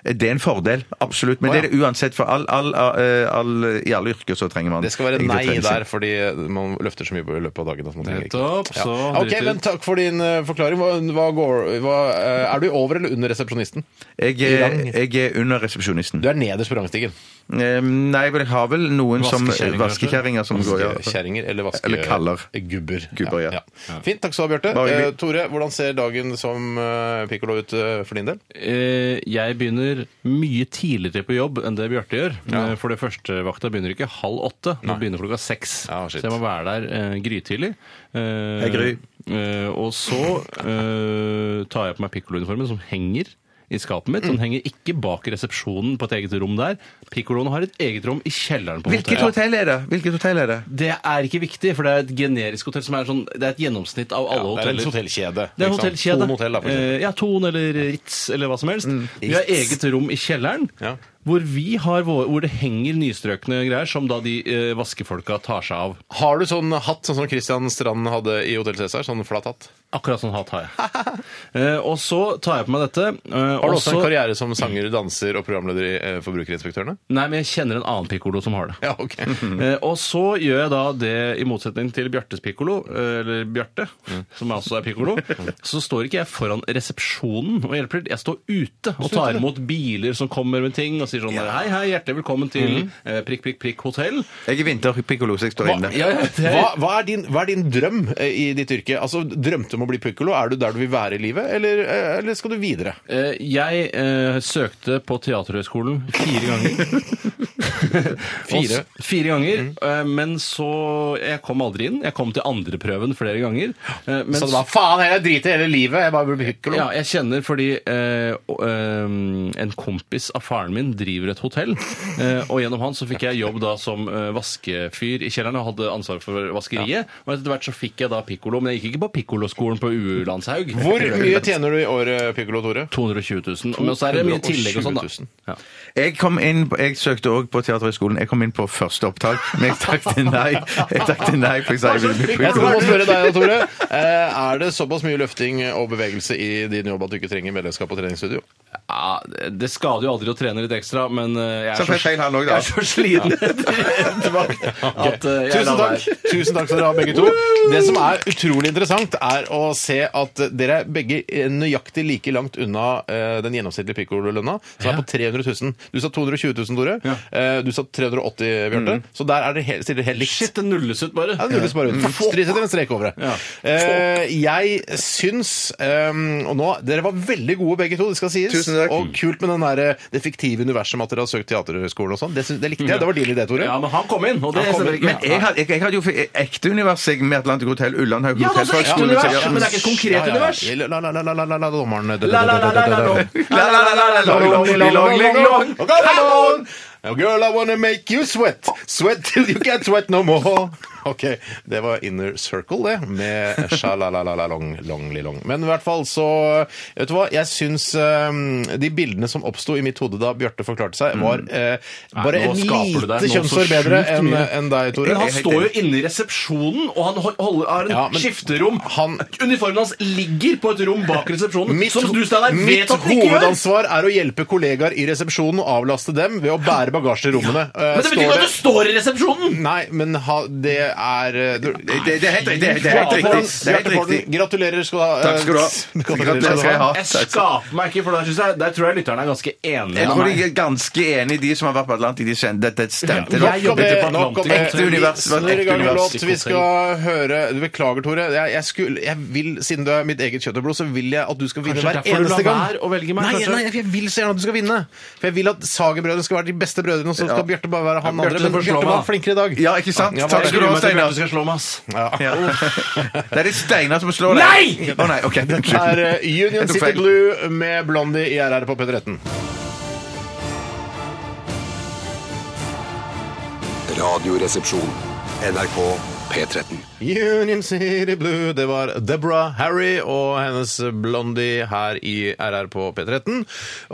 Det er en fordel, absolutt.
Å,
Men
ja.
det er det uansett, for all, all, all, all, i alle yrker så trenger man
Det skal være
egentlig
nei
trening.
der, fordi man løfter så mye i løpet av dagen. At man trenger ikke.
Nettopp, så
Ja. Ok,
driter-
men Takk for din eh, forklaring. Hva, hva går, hva, eh, er du over eller under resepsjonisten?
Jeg er,
Lang.
jeg er under resepsjonisten.
Du er nederst på rangstigen.
Eh, Nei, men jeg har vel noen som
Vaskekjerringer,
Vaskekjerringer som går, ja.
Kjerringer eller vaske... eh,
Eller kaller.
Gubber.
Gubber, ja.
Fint. Takk skal du ha, Bjarte.
Bare hyggelig.
Eh, Tore, hvordan ser dagen som eh, pikkolo ut eh, for din del?
Eh, jeg begynner mye tidligere på jobb enn det Bjarte gjør. Eh, For det første vakta begynner ikke halv åtte, den begynner klokka seks.
Ja,
så
shit.
jeg må være der eh, grytidlig. Eh,
Hei, Gry.
eh, og så eh, tar jeg på meg pikkolo-uniformen som henger i skapet mitt. Den
Mm.
henger ikke bak resepsjonen på et eget rom der. Pikkoloen har et eget rom i kjelleren på hotellet.
Hvilket hotell er det? Hvilket hotell er det?
Det er ikke viktig, for det er et generisk hotell som er sånn, det er et gjennomsnitt av alle
det er en
hoteller. Det
hotellkjede.
er
ikke sant?
hotellkjede.
Thon hotell, da, for eksempel. Mm.
Eh, ja, Thon eller Ritz eller hva som helst. Vi har eget rom i kjelleren.
Ja.
Hvor, vi har våre, hvor det henger nystrøkne greier som da de eh, vaskefolka tar seg av.
Har du sånn hatt sånn som Christian Strand hadde i Hotell Cæsar? Sånn flat hatt?
Akkurat sånn hatt har jeg. eh, og så tar jeg på meg dette. Eh,
Har du også en
så-
karriere som sanger, danser og programleder i eh, Forbrukerinspektørene?
Nei, men jeg kjenner en annen pikkolo som har det.
Ja, ok.
Eh, og så gjør jeg da det, i motsetning til Bjartes pikkolo, eh, eller Bjarte,
Mm.
som altså er pikkolo, så står ikke jeg foran resepsjonen og hjelper til. Jeg står ute og tar imot biler som kommer med ting og sier sånn Hei, hei, hjertelig velkommen til eh, prikk, prikk, prikk hotell.
Jeg er vinterpikkolo, så jeg står inne.
Mm. Hva, hva, er din, hva er din drøm eh, i ditt yrke? Altså, Drømte om å bli pikkolo? Er du der du vil være i livet, eller, eh, eller skal du videre?
Eh, Jeg eh, søkte på Teaterhøgskolen fire ganger.
Fire? Mm.
Og s- fire ganger, eh, men så Jeg kom aldri inn. Jeg kom til andreprøven flere ganger. eh, men
Så det var faen heller, jeg driter i hele livet, jeg bare blir pikkolo.
Ja, jeg kjenner fordi eh, å- eh, en kompis av faren min driver et hotell. Eh, og gjennom han så fikk jeg jobb da som eh, vaskefyr i kjelleren og hadde ansvar for vaskeriet. Og etter hvert så fikk jeg da pikkolo, men jeg gikk ikke på pikkoloskolen på U-landshaug.
Hvor mye tjener du i året, pikkolo Tore?
220 000. Men også er det mye tillegg og sånn,
220 000.
da. Ja.
Jeg kom inn, på- jeg søkte òg på Teaterhøgskolen. Jeg kom inn på første opptak, men jeg takket nei. Jeg takket nei, for jeg sa jeg ville bli
Jeg tror jeg må
pikkolo.
spørre deg, Tore. Eh, Er det såpass mye løfting og bevegelse i din jobb at du ikke trenger medlemskap på treningsstudio?
Ja, det skader jo aldri å trene litt ekstra, men eh, jeg
Så
er
får jeg
så,
feil han
jeg
òg, da.
er så sliten etter hvert at eh, jeg
Tusen
lar
takk.
være.
Tusen takk skal dere ha, begge to. Det som er utrolig interessant, er å se at dere er begge eh, nøyaktig like langt unna eh, den gjennomsnittlige pikkolønna, som er på 300 000. Du sa 220 000, Tore. Eh, Du sa 380 Bjarte. Så der er det helt, stiller dere helt likt.
Shit, det nulles ut bare.
Ja, det nulles bare ut. Stry- Setter en strek over det.
Ja.
ehm, Eh, jeg syns eh, Og nå Dere var veldig gode begge to, det skal sies.
Tusen takk.
Og kult med den der, eh, det fiktive universet med at dere har søkt Teaterhøgskolen og sånn. Det, syns- det likte jeg. Det var din idé, Tore.
Ja, men han kom inn, og det
Han kom
stemmer
inn,
ikke.
Men jeg hadde, jeg, jeg hadde jo f- ekte univers jeg, med Atlantic Hotell, Ullandhaug
Ja, det er også ekte univers,
Hotel-
ja, men det er ikke et konkret
Ja, ja, ja.
univers.
La, la, la, la, la, la, la, dommeren
La, la, la, la, la, la.
La, la, la, la, la, la, la, la, la, la, la.
Come on! Now, girl, I wanna make you sweat. Sweat till you can't sweat no more. Ok, Det var Inner Circle, det, med sjalalalalong-long-li-long. Men i hvert fall så Vet du hva, jeg syns um, de bildene som oppsto i mitt hode da Bjarte forklarte seg, var eh, bare
Nei, nå
en
skaper du deg noe
lite
så
kjønnsår bedre
sjukt
enn
mye.
enn deg, Tore.
Men han
Jeg er helt
står jo
enig.
inne i resepsjonen, og han hol- holder, har en
Ja, men
skifterom.
han-
Uniformen hans ligger på et rom bak resepsjonen,
Mitt,
som du, Steinar,
mitt
vet at den ikke gjør!
hovedansvar er å hjelpe kollegaer i resepsjonen og avlaste dem ved å bære bagasje i rommene. Eh,
Men det betyr
står
ikke at du står i resepsjonen!
Nei, men ha, det er eh, du-
Det, det, det er helt riktig. Det er helt riktig. Det er helt
Bjarte Borden,
riktig.
Gratulerer skal du ha. eh,
Takk skal du ha.
Gratulerer
Gratulerer skal jeg ha.
Jeg skaper meg ikke, for der, synes jeg, der tror jeg lytterne er ganske enige
Jeg
med
tror de
meg.
er ganske enige, de som har vært på Atlantic. De kjenner dette stemte.
Ja, jeg
nok.
jobber
Dette-
på Atlantic.
Nok om det.
Ekte univers,
Vi
men ekte
snurrer i gang med
univers.
låt. Vi skal høre du Beklager, Tore. Jeg, jeg skulle, jeg vil, siden du er mitt eget kjøtt og blod, så vil jeg at du skal vinne
Kanskje
hver
derfor du lar
eneste gang.
være å velge meg,
nei,
kanskje?
nei, jeg vil så gjerne at du skal vinne. For jeg vil at Sagerbrødrene skal være de beste brødrene, og så skal Bjarte bare være han
Bjarte,
andre.
du
Men
får slå
Bjarte
meg.
var flinkere i dag.
Ja, ikke sant?
Ja,
Takk
Jeg
skal du
gruer
ha,
meg til Bjarte
Steinar.
skal slå meg, ass.
Ja. Det er litt Steinar som slår deg.
Nei!
Å nei, ok.
Det er eh, Union
Jeg tok
City
feil.
Blue med Blondie i RR på P13.
Radioresepsjon. NRK P13.
Union City Blue, det var Deborah Harry og hennes Blondie her i RR på P13.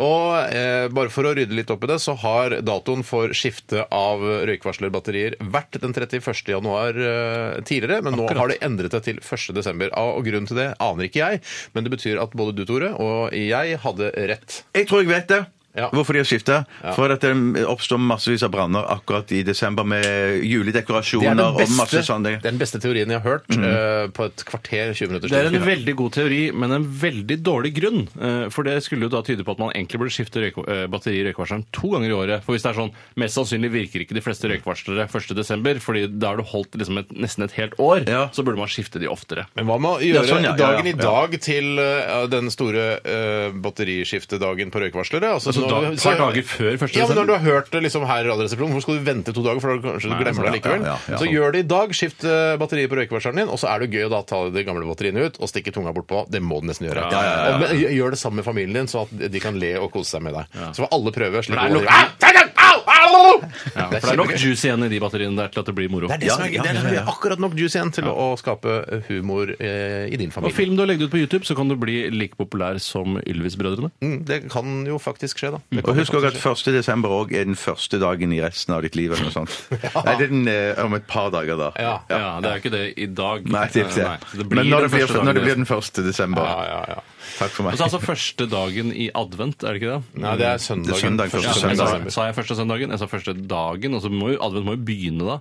Og eh, bare for å rydde litt opp i det, så har datoen for skifte av røykvarslerbatterier vært den 31. januar eh, tidligere, men nå har det endret seg til 1. desember. Ah, Og grunnen til det aner ikke jeg, men det betyr at både du, Tore, og jeg hadde rett.
Jeg tror jeg vet det.
Ja.
Hvorfor de har skifta?
Ja.
For at um, det oppstår massevis av branner akkurat i desember med
Det er
juledekorasjoner
den
og masse
beste,
sånne
det er den beste teorien jeg har hørt eh, på et kvarter, 20 minutter.
Det er en veldig god teori, men en veldig dårlig grunn. Eh, For det skulle jo da tyde på at man egentlig burde skifte røyk eh, batteri i røykvarsleren to ganger i året. For hvis det er sånn, mest sannsynlig virker ikke de fleste røykvarslere 1.12., fordi da har du holdt liksom et, nesten et helt år,
Ja.
så burde man skifte de oftere.
Men hva med å gjøre
sånn, ja, ja,
dagen i
ja, ja.
dag til eh, den store eh, batteriskiftedagen på røykvarslere?
Altså
nå-
da, et par dager før 1.
Ja, men Når du
desember.
har hørt det liksom her i Radioresepsjonen, hvorfor skal du vente to dager? for da kanskje du
Nei,
glemmer det
sånn, ja,
likevel.
ja, ja,
Så
sånn.
gjør det i dag. Skift eh, batteriet på røykvarsleren din, og så er det gøy å da ta de gamle batteriene ut og stikke tunga bortpå. Det må du nesten gjøre.
Ja, ja,
Og, men, gjør det sammen med familien din, sånn at de kan le og kose seg med deg. Så får alle prøve. Slik
For det er
at-
nok- Ah,
Au! Ta den! Au! Au! Au!
Ja, for det er nok juice igjen i de batteriene der til at det blir moro.
Det er det som er gøy. Det er det som er akkurat nok juice igjen til å skape humor eh, i din
Og
familie.
film du har legget ut på YouTube, så kan du bli like populær som Ylvis-brødrene.
Mm, Det kan jo faktisk skje, da. Det
Mm. Og
kan jo
husk også
faktisk
at 1. desember òg er den første dagen i resten av ditt liv. eller noe sånt. Nei, det er den eh, om et par dager, da.
Ja.
Ja. det er jo ikke det i dag. Eh,
Nei, det er ikke
Nei, så
det. Men når det,
den
blir,
første
når det
dagen.
blir den 1. desember.
Ja, ja, ja.
Takk for
Og
meg.
så er altså første dagen i advent, er det ikke det?
Nei, det er søndagen.
Det er søndag,
Første
Ja,
første
men
søndag.
sa, sa jeg første søndagen? Jeg sa første dagen, og så må jo advent må jo begynne da.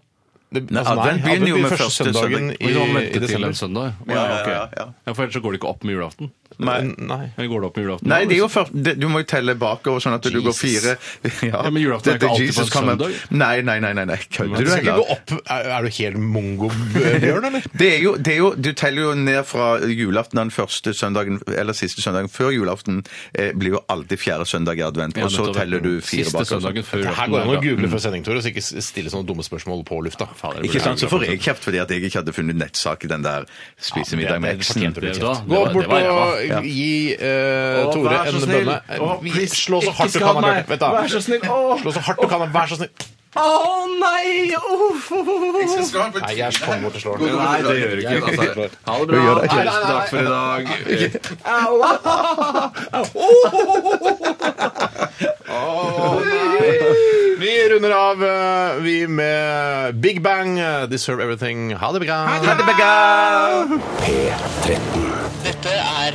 Det-
Nei,
altså,
advent begynner jo med
første
første
søndagen
søndag.
i,
Hvis man
i
venter til altså. en
desember.
søndag.
Ja, ja, ja,
ok.
ja.
ja, For ellers så går det ikke opp med julaften.
Nei.
Nei.
Eller går det opp med julaften?
Nei, det er jo først, det, du må jo telle bakover, sånn at du går fire.
Ja, men julaften er
Dette
ikke alltid på
Jesus
en
kommer-
søndag.
Nei, nei, nei. nei, nei. Kødder
Du skal ikke
eller?
gå opp Er, er du helt mongo, Bjørn, eller?
Det er, jo, det er jo, Du teller jo ned fra julaften den første søndagen, eller siste søndagen før julaften. Eh, blir jo alltid fjerde søndag i advent, og så
nettopp.
teller du fire
Siste
bak. og sånn.
søndagen før
Her
julaften.
går det an å
Ja.
google før sending, Tore, så ikke stille sånne dumme spørsmål på lufta.
Ikke sant, Så får jeg kjeft fordi at jeg ikke hadde funnet nettsak i den der spise middag med eksen.
fortjente du
Det
kjeft.
da,
Gå
det var- det
bort
var ræva.
og gi eh,
Å,
Tore
vær så
en
snill.
bønne.
Å,
Vi-
please,
Slå så
ikke
hardt du
skad
kan, da,
meg.
Bjørn. Vet du.
Vær så snill. Å.
Slå så hardt du kan, da. vær så snill.
Å nei! Uff, uff, uff, uff.
Nei, jeg er så kongen bort og slår.
Nei, det gjør du ikke. Altså. Ha det bra.
gjør det ikke.
Tusen takk for i dag.
Vi runder av, eh, vi med Big Bang, eh, Deserve Everything. Ha det bra.
Ha det bra!
P13.
Dette er